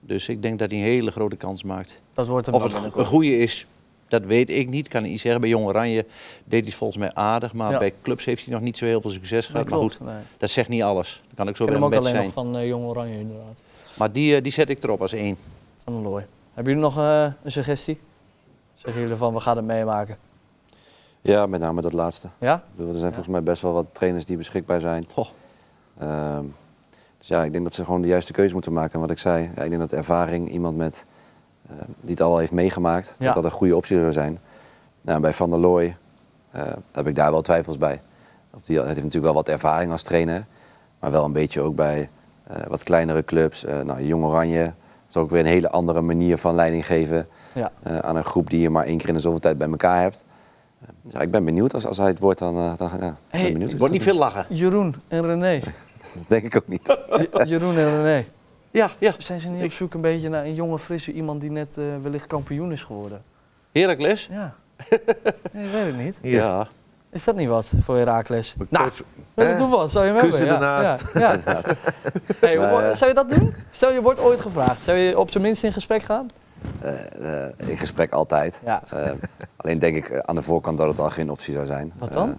Dus ik denk dat hij een hele grote kans maakt. Dat wordt hem Of dan het go- een binnenkort. goede is, dat weet ik niet. Kan ik niet zeggen. Bij Jong Oranje deed hij volgens mij aardig. Maar Ja. bij clubs heeft hij nog niet zo heel veel succes Nee, gehad. Maar goed, klopt, nee. dat zegt niet alles. Dat kan ook zo Ik weer ken hem een ook match alleen zijn. nog van eh, Jong Oranje inderdaad. Maar die, eh, die zet ik erop als één. Dus Van der Looy. Hebben jullie nog eh, een suggestie? Zeggen jullie van, we gaan het meemaken. Ja, met name dat laatste. Ja? Ik bedoel, er zijn volgens mij best wel wat trainers die beschikbaar zijn. Goh. Ehm, dus ja, ik denk dat ze gewoon de juiste keuze moeten maken. En wat ik zei, ja, ik denk dat ervaring, iemand met, eh, die het al heeft meegemaakt, Ja. dat dat een goede optie zou zijn. Nou, bij Van der Looy eh, heb ik daar wel twijfels bij. Of die heeft natuurlijk wel wat ervaring als trainer. Maar wel een beetje ook bij eh, wat kleinere clubs. Eh, nou, Jong Oranje. Dat is ook weer een hele andere manier van leiding geven. Ja. eh, aan een groep die je maar één keer in de zoveel tijd bij elkaar hebt. Eh, ja, ik ben benieuwd. Als, als hij het wordt, dan, eh, dan, ja, ik ben Hey, benieuwd. Er wordt niet veel lachen. Jeroen en René. Dat denk ik ook niet. J- Jeroen en René. Ja, ja. Zijn ze niet op zoek een beetje naar een jonge, frisse iemand die net eh, wellicht kampioen is geworden? Heracles? Ja. Nee, weet ik niet. Ja. Is dat niet wat voor Herakles? Nou, Coach- dat Eh, is toeval. Zou je hem kussen hebben? Ja, ernaast. Ja, ja. Hey, Nou Maar, wo- eh, zou je dat doen? Stel je wordt ooit gevraagd. Zou je op zijn minst in gesprek gaan? Eh, eh, in gesprek altijd. Ja. Eh, alleen denk ik eh, aan de voorkant dat het al geen optie zou zijn. Wat dan? Eh,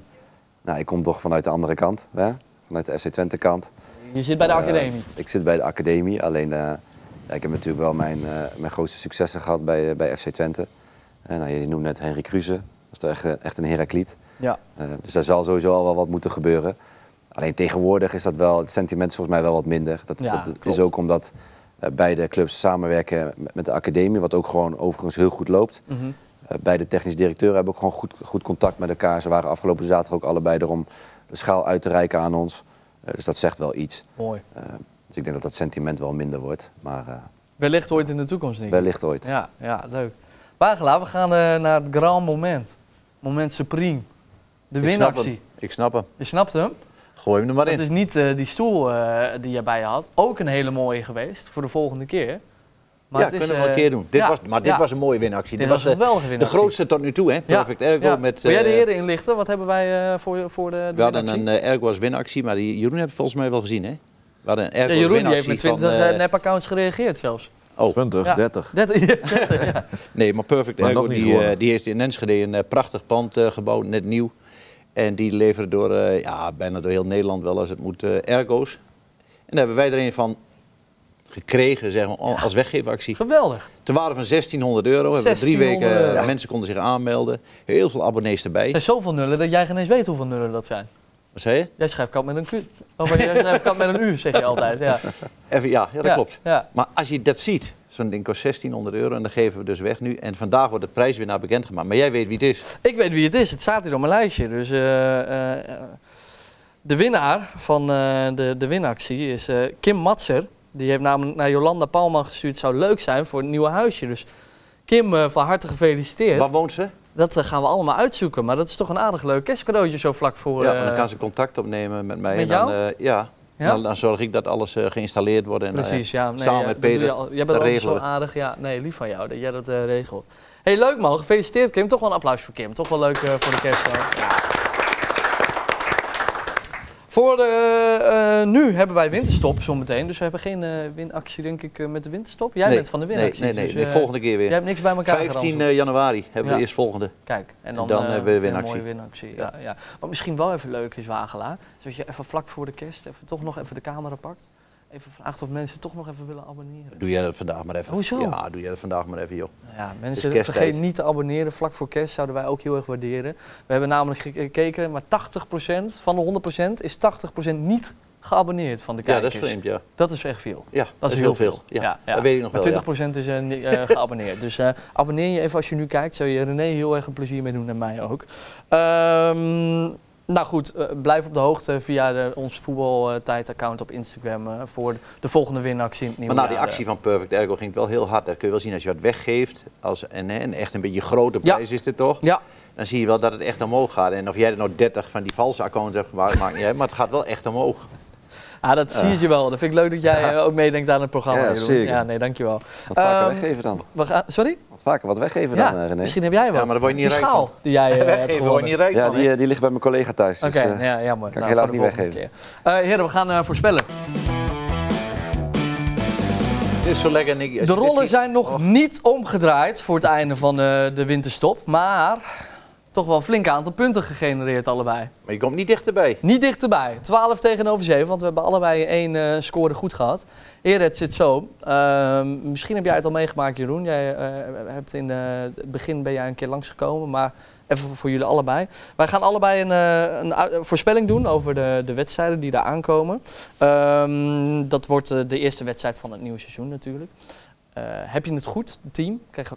nou, ik kom toch vanuit de andere kant. Hè? Vanuit de FC Twente kant. Je zit bij de Eh, academie. ik zit bij de academie, alleen eh, ja, ik heb natuurlijk wel mijn, eh, mijn grootste successen gehad bij, eh, bij FC Twente. En nou, je noemde net Henry Kruse, dat is toch echt, eh, echt een Herakliet. Ja. Eh, dus daar zal sowieso al wel wat moeten gebeuren. Alleen tegenwoordig is dat wel, het sentiment is volgens mij wel wat minder. Dat, Ja, dat klopt. is ook omdat eh, beide clubs samenwerken met- met de academie, wat ook gewoon overigens heel goed loopt. Mhm. Eh, beide technisch directeuren hebben ook gewoon goed, goed contact met elkaar. Ze waren afgelopen zaterdag ook allebei er om de schaal uit te reiken aan ons. Eh, dus dat zegt wel iets. Mooi. Eh, dus ik denk dat dat sentiment wel minder wordt. Maar eh, Wellicht ooit in de toekomst, niet. wellicht ooit. Ja, ja, leuk. Wagelaar, we gaan eh, naar het grand moment. Moment supreme. De Ik snap winactie. hem. Ik snap hem. Je snapt hem? Gooi hem er maar Het in. is niet eh, die stoel eh, die je bij je had. Ook een hele mooie geweest voor de volgende keer. ja, het is, kunnen we wel een eh, keer doen. Dit ja, was, maar dit ja. was een mooie winactie. Dit Dit, was was een de, geweldige de winactie. grootste tot nu toe, hè? Perfect ergo ja. met... Wil jij de eh, heren inlichten? Wat hebben wij eh, voor, voor de, de We hadden winactie? een eh, Ergo's winactie, maar die Jeroen heeft volgens mij wel gezien, hè? We hadden een Ergo's ja, Jeroen die heeft eh, winactie met 20 van, eh, nep-accounts gereageerd zelfs. 20, Ja. 30. Dat, ja. Nee, maar Perfect Maar Ergo nog niet die, gewonnen. eh, die heeft in Enschede een eh, prachtig pand eh, gebouwd, net nieuw. En die leveren door eh, ja, bijna door heel Nederland wel als het moet eh, Ergo's. En daar hebben wij er een van gekregen, zeg maar, als weggeefactie. Geweldig. Ter waarde van 1600 euro hebben we drie 1600 weken, eh, euro. mensen konden zich aanmelden. Heel veel abonnees erbij. Er zijn zoveel nullen dat jij geen eens weet hoeveel nullen dat zijn. Wat zei je? Jij schrijft kat met een Q. Of jij schrijft kat met een U, zeg je altijd. Ja, Even, ja, ja, dat Ja, klopt. Ja. Maar als je dat ziet, zo'n ding kost 1600 euro en dat geven we dus weg nu. En vandaag wordt de prijswinnaar bekendgemaakt. Maar jij weet wie het is. Ik weet wie het is. Het staat hier op mijn lijstje. Dus, eh, eh, eh, de winnaar van eh, de, de winactie is eh, Kim Matser. Die heeft namelijk naar Jolanda Palman gestuurd. Zou leuk zijn voor het nieuwe huisje. Dus Kim, eh, van harte gefeliciteerd. Waar woont ze? Dat eh, gaan we allemaal uitzoeken. Maar dat is toch een aardig leuk kerstcadeautje zo vlak voor. Ja, eh, want dan kan ze contact opnemen met mij. Met en dan, jou? eh, ja, ja? Dan, dan zorg ik dat alles eh, geïnstalleerd wordt. En, eh, Precies, ja. Nee, samen ja, met dat doe je Peter al- Jij bent te altijd zo regelen. aardig. Ja, nee, lief van jou dat jij dat eh, regelt. hey, leuk man. Gefeliciteerd Kim. Toch wel een applaus voor Kim. Toch wel leuk eh, voor de kerst. hoor. Voor de, eh, nu hebben wij winterstop zometeen. Dus we hebben geen eh, winactie denk ik eh, met de winterstop. Jij Nee, bent van de nee, winactie. nee, nee, dus, nee, eh, volgende keer Jij weer. hebt niks bij elkaar 15 geranseld. januari hebben Ja. we eerst volgende. Kijk, en dan, dan, eh, eh, weer een winactie. mooie winactie. Ja, ja. Wat misschien wel even leuk is, Wagelaar. Dus als je even vlak voor de kerst even, toch nog even de camera pakt. Even vraagt of mensen toch nog even willen abonneren. Doe jij dat vandaag maar even. Hoezo? Ja, doe jij dat vandaag maar even, joh. Nou Ja, mensen, Het is kersttijd. vergeet niet te abonneren. Vlak voor kerst zouden wij ook heel erg waarderen. We hebben namelijk gekeken, maar 80% van de 100% is 80% niet geabonneerd van de Ja, kijkers. dat is vreemd, ja. Dat is echt veel. Ja, dat, is heel veel. Ja, dat weet ik nog maar wel, ja. 20% is eh, ni- eh, geabonneerd. Dus eh, abonneer je even als je nu kijkt. Zou je René heel erg een plezier mee doen en mij ook. Ehm, nou goed, eh, blijf op de hoogte via de, ons voetbaltijd-account op Instagram eh, voor de volgende winactie in het nieuwe Maar na die jaar, eh. actie van Perfect Ergo ging het wel heel hard. Dat kun je wel zien als je wat weggeeft. Als, en, hè, en echt een beetje grote Ja. prijs is dit toch? Ja, Dan zie je wel dat het echt omhoog gaat. En of jij er nou 30 van die valse accounts hebt gemaakt, maakt niet uit. Maar het gaat wel echt omhoog. Ah, dat zie je wel. Dat vind ik leuk dat jij eh, ook meedenkt aan het programma. Ja, Jeroen. zeker. Ja, nee, dankjewel. Wat vaker Ehm, weggeven dan? We gaan, sorry? Wat vaker wat weggeven ja, dan, eh, René? misschien heb jij wat. Ja, maar daar word je niet die rijk schaal die jij eh, hebt Weggeven word gewonnen. je niet rijk Ja, van, die, hè? eh, die ligt bij mijn collega thuis. Oké, dus, eh, ja, jammer. Nou, kan ik voor helaas de niet volgende weggeven. keer. Eh, heren, we gaan eh, voorspellen. Dit is zo lekker, Nicky. Als De je dit rollen ziet- zijn Oh. nog niet omgedraaid voor het einde van eh, de winterstop. Maar toch wel een flink aantal punten gegenereerd allebei. Maar je komt niet dichterbij. Niet dichterbij. 12 tegenover 7, want we hebben allebei één eh, score goed gehad. Eer, het zit zo. Ehm, misschien heb jij het al meegemaakt, Jeroen. Jij eh, hebt in eh, het begin ben jij een keer langsgekomen, maar even voor jullie allebei. Wij gaan allebei een, eh, een u- voorspelling doen over de, de wedstrijden die daar aankomen. Ehm, dat wordt eh, de eerste wedstrijd van het nieuwe seizoen natuurlijk. Eh, heb je het goed, team? Krijg je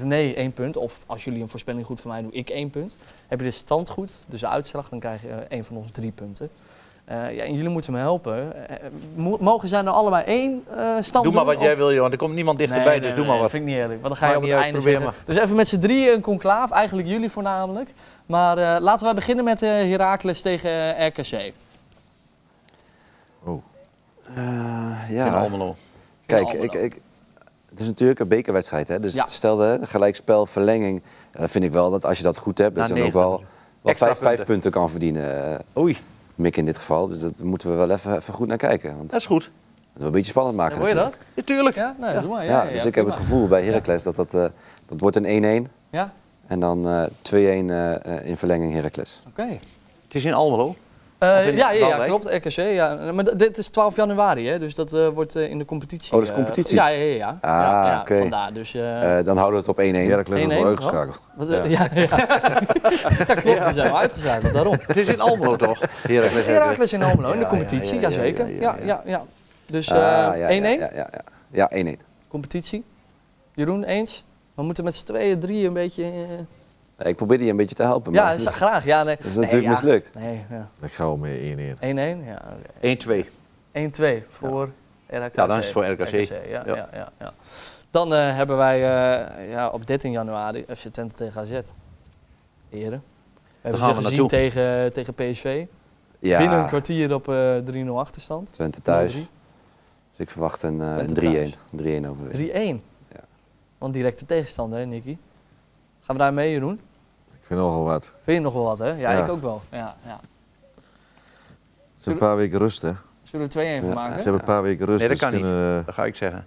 René één punt, of als jullie een voorspelling goed van mij doen, ik één punt. Heb je de stand goed, dus de uitslag, dan krijg je eh, één van ons drie punten. Eh, ja, en jullie moeten me helpen. Eh, mo- mogen zij nou allebei één eh stand Doe maar doen, wat of- jij wil, Johan. Er komt niemand dichterbij, Nee, dus nee, doe maar nee, wat. Dat vind ik niet eerlijk, want dan ga je Maakt op het niet uit, einde probeer zeggen. Dus even met z'n drieën een conclaaf, eigenlijk jullie voornamelijk. Maar eh, laten wij beginnen met eh Heracles tegen eh, Ah, RKC. Eh, In ja, Almelo. kijk, Almelo. ik, ik, het is natuurlijk een bekerwedstrijd. Hè? Dus Ja. stel de gelijkspel, verlenging. eh, vind ik wel dat als je dat goed hebt, dat Na je dan ook negen wel, punten. wel Extra vijf, vijf punten. punten kan verdienen. eh, Oei, Mick in dit geval. Dus daar moeten we wel even, even goed naar kijken. Want dat is goed. het wil een beetje spannend maken. Hoor je dat? natuurlijk. Natuurlijk. Ja, nee, doe maar. Ja, Ja, ja, dus ja, ik heb het prima. gevoel bij Heracles dat dat, eh, dat wordt een 1-1. Ja, En dan eh, 2-1 eh, eh, in verlenging Heracles. oké. Het is in Almelo. Eh, Of in ja, ja, ja, Waalwijk? klopt. RKC. Ja. Maar d- dit is 12 januari, hè, dus dat eh, wordt eh, in de competitie. Oh, dat eh, is competitie? Ah, ja, ja, ja. ja. ja, ja, oké. Vandaar. Dus, eh, Eh, dan houden we het op 1-1. Heracles was 1-1 wel nog uitgeschakeld. wat, eh, ja. Ja, Ja, klopt. We zijn wel uitgezakeld, daarom. Het is in Almelo toch? Heracles. Heracles in Almelo in de Ja, competitie, ja, ja, ja, jazeker. ja, Ja, ja, ja, ja. ja. Dus eh, 1-1, Ah, ja, Ja, ja, ja. ja 1-1. competitie. Jeroen, eens? We moeten met z'n tweeën, drieën een beetje... eh, Eh, Ik probeer die een beetje te helpen. ja, maar is- dus. dat is, graag. Ja, nee. dat is natuurlijk nee, ja. mislukt. Nee, ja. Ik ga wel mee 1-1. 1-1, ja. oké. 1-2. 1-2 voor RKC. Ja, dan is het voor RKC. ja, Ja. ja. Ja, ja, Dan eh, hebben wij eh, ja, op 13 januari FC Twente tegen AZ. Heren. We hebben gaan ze we gezien naartoe. tegen, eh, tegen PSV. Ja, Binnen een kwartier op eh 3-0 achterstand. Twente thuis. 0-3. Dus ik verwacht een, eh, Twente een 3-1. 3-1 overwinning. 3-1. Ja. Want directe tegenstander, hè, Nicky? Gaan we daar mee, Jeroen? Ik vind nogal wat. Vind je nog wel wat, hè? Ja, Ja. ik ook wel. Ja, ja. Het is een paar weken rust, hè? Ze Zullen we er 2-1 van Ja, maken? hebben een paar weken rust. Nee, dat dus ze kan niet. kunnen, eh, Dat ga ik zeggen.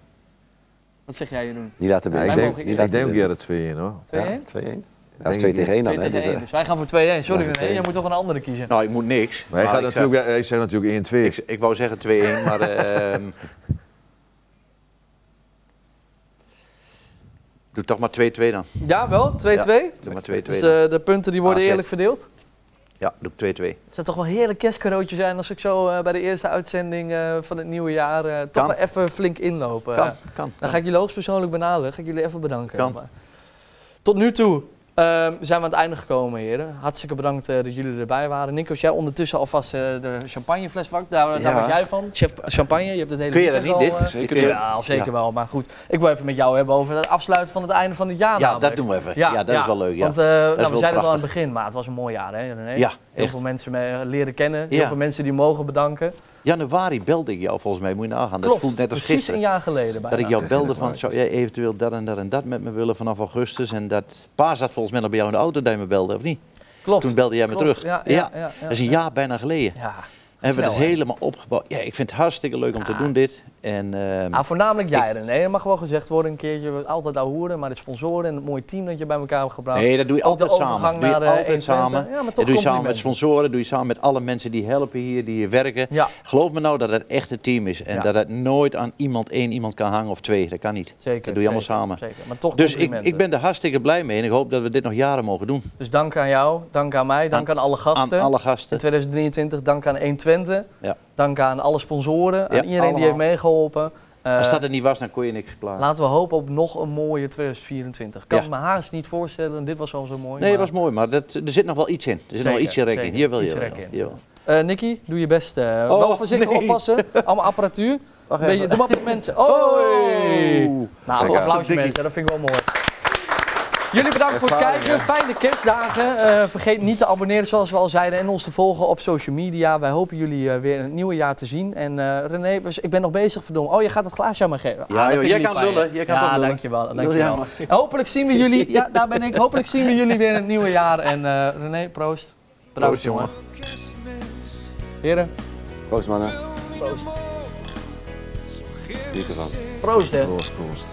Wat zeg jij, Jeroen? 2-1? Niet laten ja, ik binnen. Wij denk, mogen- Niet ik laten denk ook binnen. eerder 2-1 hoor. Ja, 2 2-1. Ja, Denk dat is 2 ik tegen 1 dan. hè, tegen dus, eh, 1. Dus wij gaan voor 2-1. Sorry, Ja, René, jij moet toch een andere kiezen. Nou, ik moet niks. Maar hij maar gaat ik natuurlijk, hij zegt natuurlijk 1-2. Zeg, ik, ik wou zeggen 2-1, maar ehm doe toch maar 2-2 dan. Ja, wel. 2-2. Doe maar 2-2 Dus dan. eh, de punten die worden AZ. eerlijk verdeeld. Ja, doe ik 2-2. Het zou toch wel een heerlijk kerstcadeautje zijn als ik zo eh, bij de eerste uitzending eh, van het nieuwe jaar eh, toch Kan. wel even flink inlopen. Kan, Eh, kan. Dan ga ik jullie hoogstpersoonlijk benaderen. Ga ik jullie even bedanken. Kan. Maar Tot nu toe ehm, zijn we aan het einde gekomen, heren. Hartstikke bedankt eh, dat jullie erbij waren. Nikos, jij ondertussen alvast eh, de champagnefles pakt. Daar, daar Ja. was jij van. Chef champagne, je hebt het hele Kun je dat weekend niet, al, dit? eh, Kun je- Ja, zeker wel. Maar goed, ik wil even met jou hebben over het afsluiten van het einde van het jaar. Ja, dat namelijk. doen we even. Ja, dat is wel leuk. Ja, Want eh, nou, we wel zeiden het al aan prachtig. het begin, maar het was een mooi jaar, hè? René? ja Heel echt. veel mensen mee leren kennen, heel Ja. veel mensen die mogen bedanken. Januari belde ik jou volgens mij, moet je nagaan. Dat Klopt, voelt net als precies gisteren. een jaar geleden bijna. Dat ik jou belde van, zou jij eventueel dat en dat en dat met me willen vanaf augustus? En dat pa zat volgens mij nog bij jou in de auto dat je me belde, of niet? Klopt. Toen belde jij me Klopt, terug. Ja, ja, ja, ja. Dat is een jaar bijna geleden. Ja. Hebben we Snel, dat hè? helemaal opgebouwd. Ja, ik vind het hartstikke leuk om te Ja. doen dit. En ehm, Ah, voornamelijk jij, René. Dat mag wel gezegd worden een keertje. We- Altijd ouwehoeren, maar de sponsoren en het mooie team dat je bij elkaar hebt gebracht. nee, dat doe je Ook de altijd samen. overgang Doe je naar, eh, altijd 120. samen. Ja, maar toch dat doe je samen complimenten. met sponsoren, doe je samen met alle mensen die helpen hier, die hier werken. Ja, Geloof me nou dat het echt een team is en Ja. dat het nooit aan iemand één iemand kan hangen of twee. Dat kan niet. zeker. Dat doe je allemaal zeker, samen. Zeker. Maar toch Dus ik, complimenten. ik ben er hartstikke blij mee en ik hoop dat we dit nog jaren mogen doen. Dus dank aan jou, dank aan mij, dank aan, alle gasten. Aan alle In gasten. 2023, dank aan 120. Ja. Dank aan alle sponsoren, aan Ja, iedereen die allemaal. heeft meegeholpen. Eh, Als dat er niet was, dan kon je niks klaar. Laten we hopen op nog een mooie 2024. Ik kan Ja. het me haast niet voorstellen, dit was al zo mooi. Nee, maar- het was mooi, maar dat, er zit nog wel iets in. Er zit nog Zeker, wel iets in rekening. zeker. Hier wil Iets je wel. rekken in. Jawel. Eh, Nicky, doe je best. eh. wel voorzichtig Oh, nee. oppassen. Allemaal apparatuur. Wacht Beetje, doe maar op de mensen. Oh! Oei. Nou, een Lekker. applausje Dikkie. mensen, dat vind ik wel mooi. Jullie bedankt voor het kijken. Fijne kerstdagen. Eh, vergeet niet te abonneren, zoals we al zeiden, en ons te volgen op social media. Wij hopen jullie eh, weer in het nieuwe jaar te zien. En eh, René, dus ik ben nog bezig, verdomme. Oh, je gaat het glaasje aan me geven. Ja, joh, Ah, dat vind ik jij lief kan van je. lullen, jij kan ja, toch lullen. dankjewel. Lul jij dankjewel. maar. En hopelijk zien we jullie, ja, daar ben ik. Hopelijk zien we jullie weer in het nieuwe jaar. En eh, René, proost. Bedankt, Proost, jongen. Heren, eh, Proost mannen. proost. Niet ervan. Proost, hè. Proost, proost.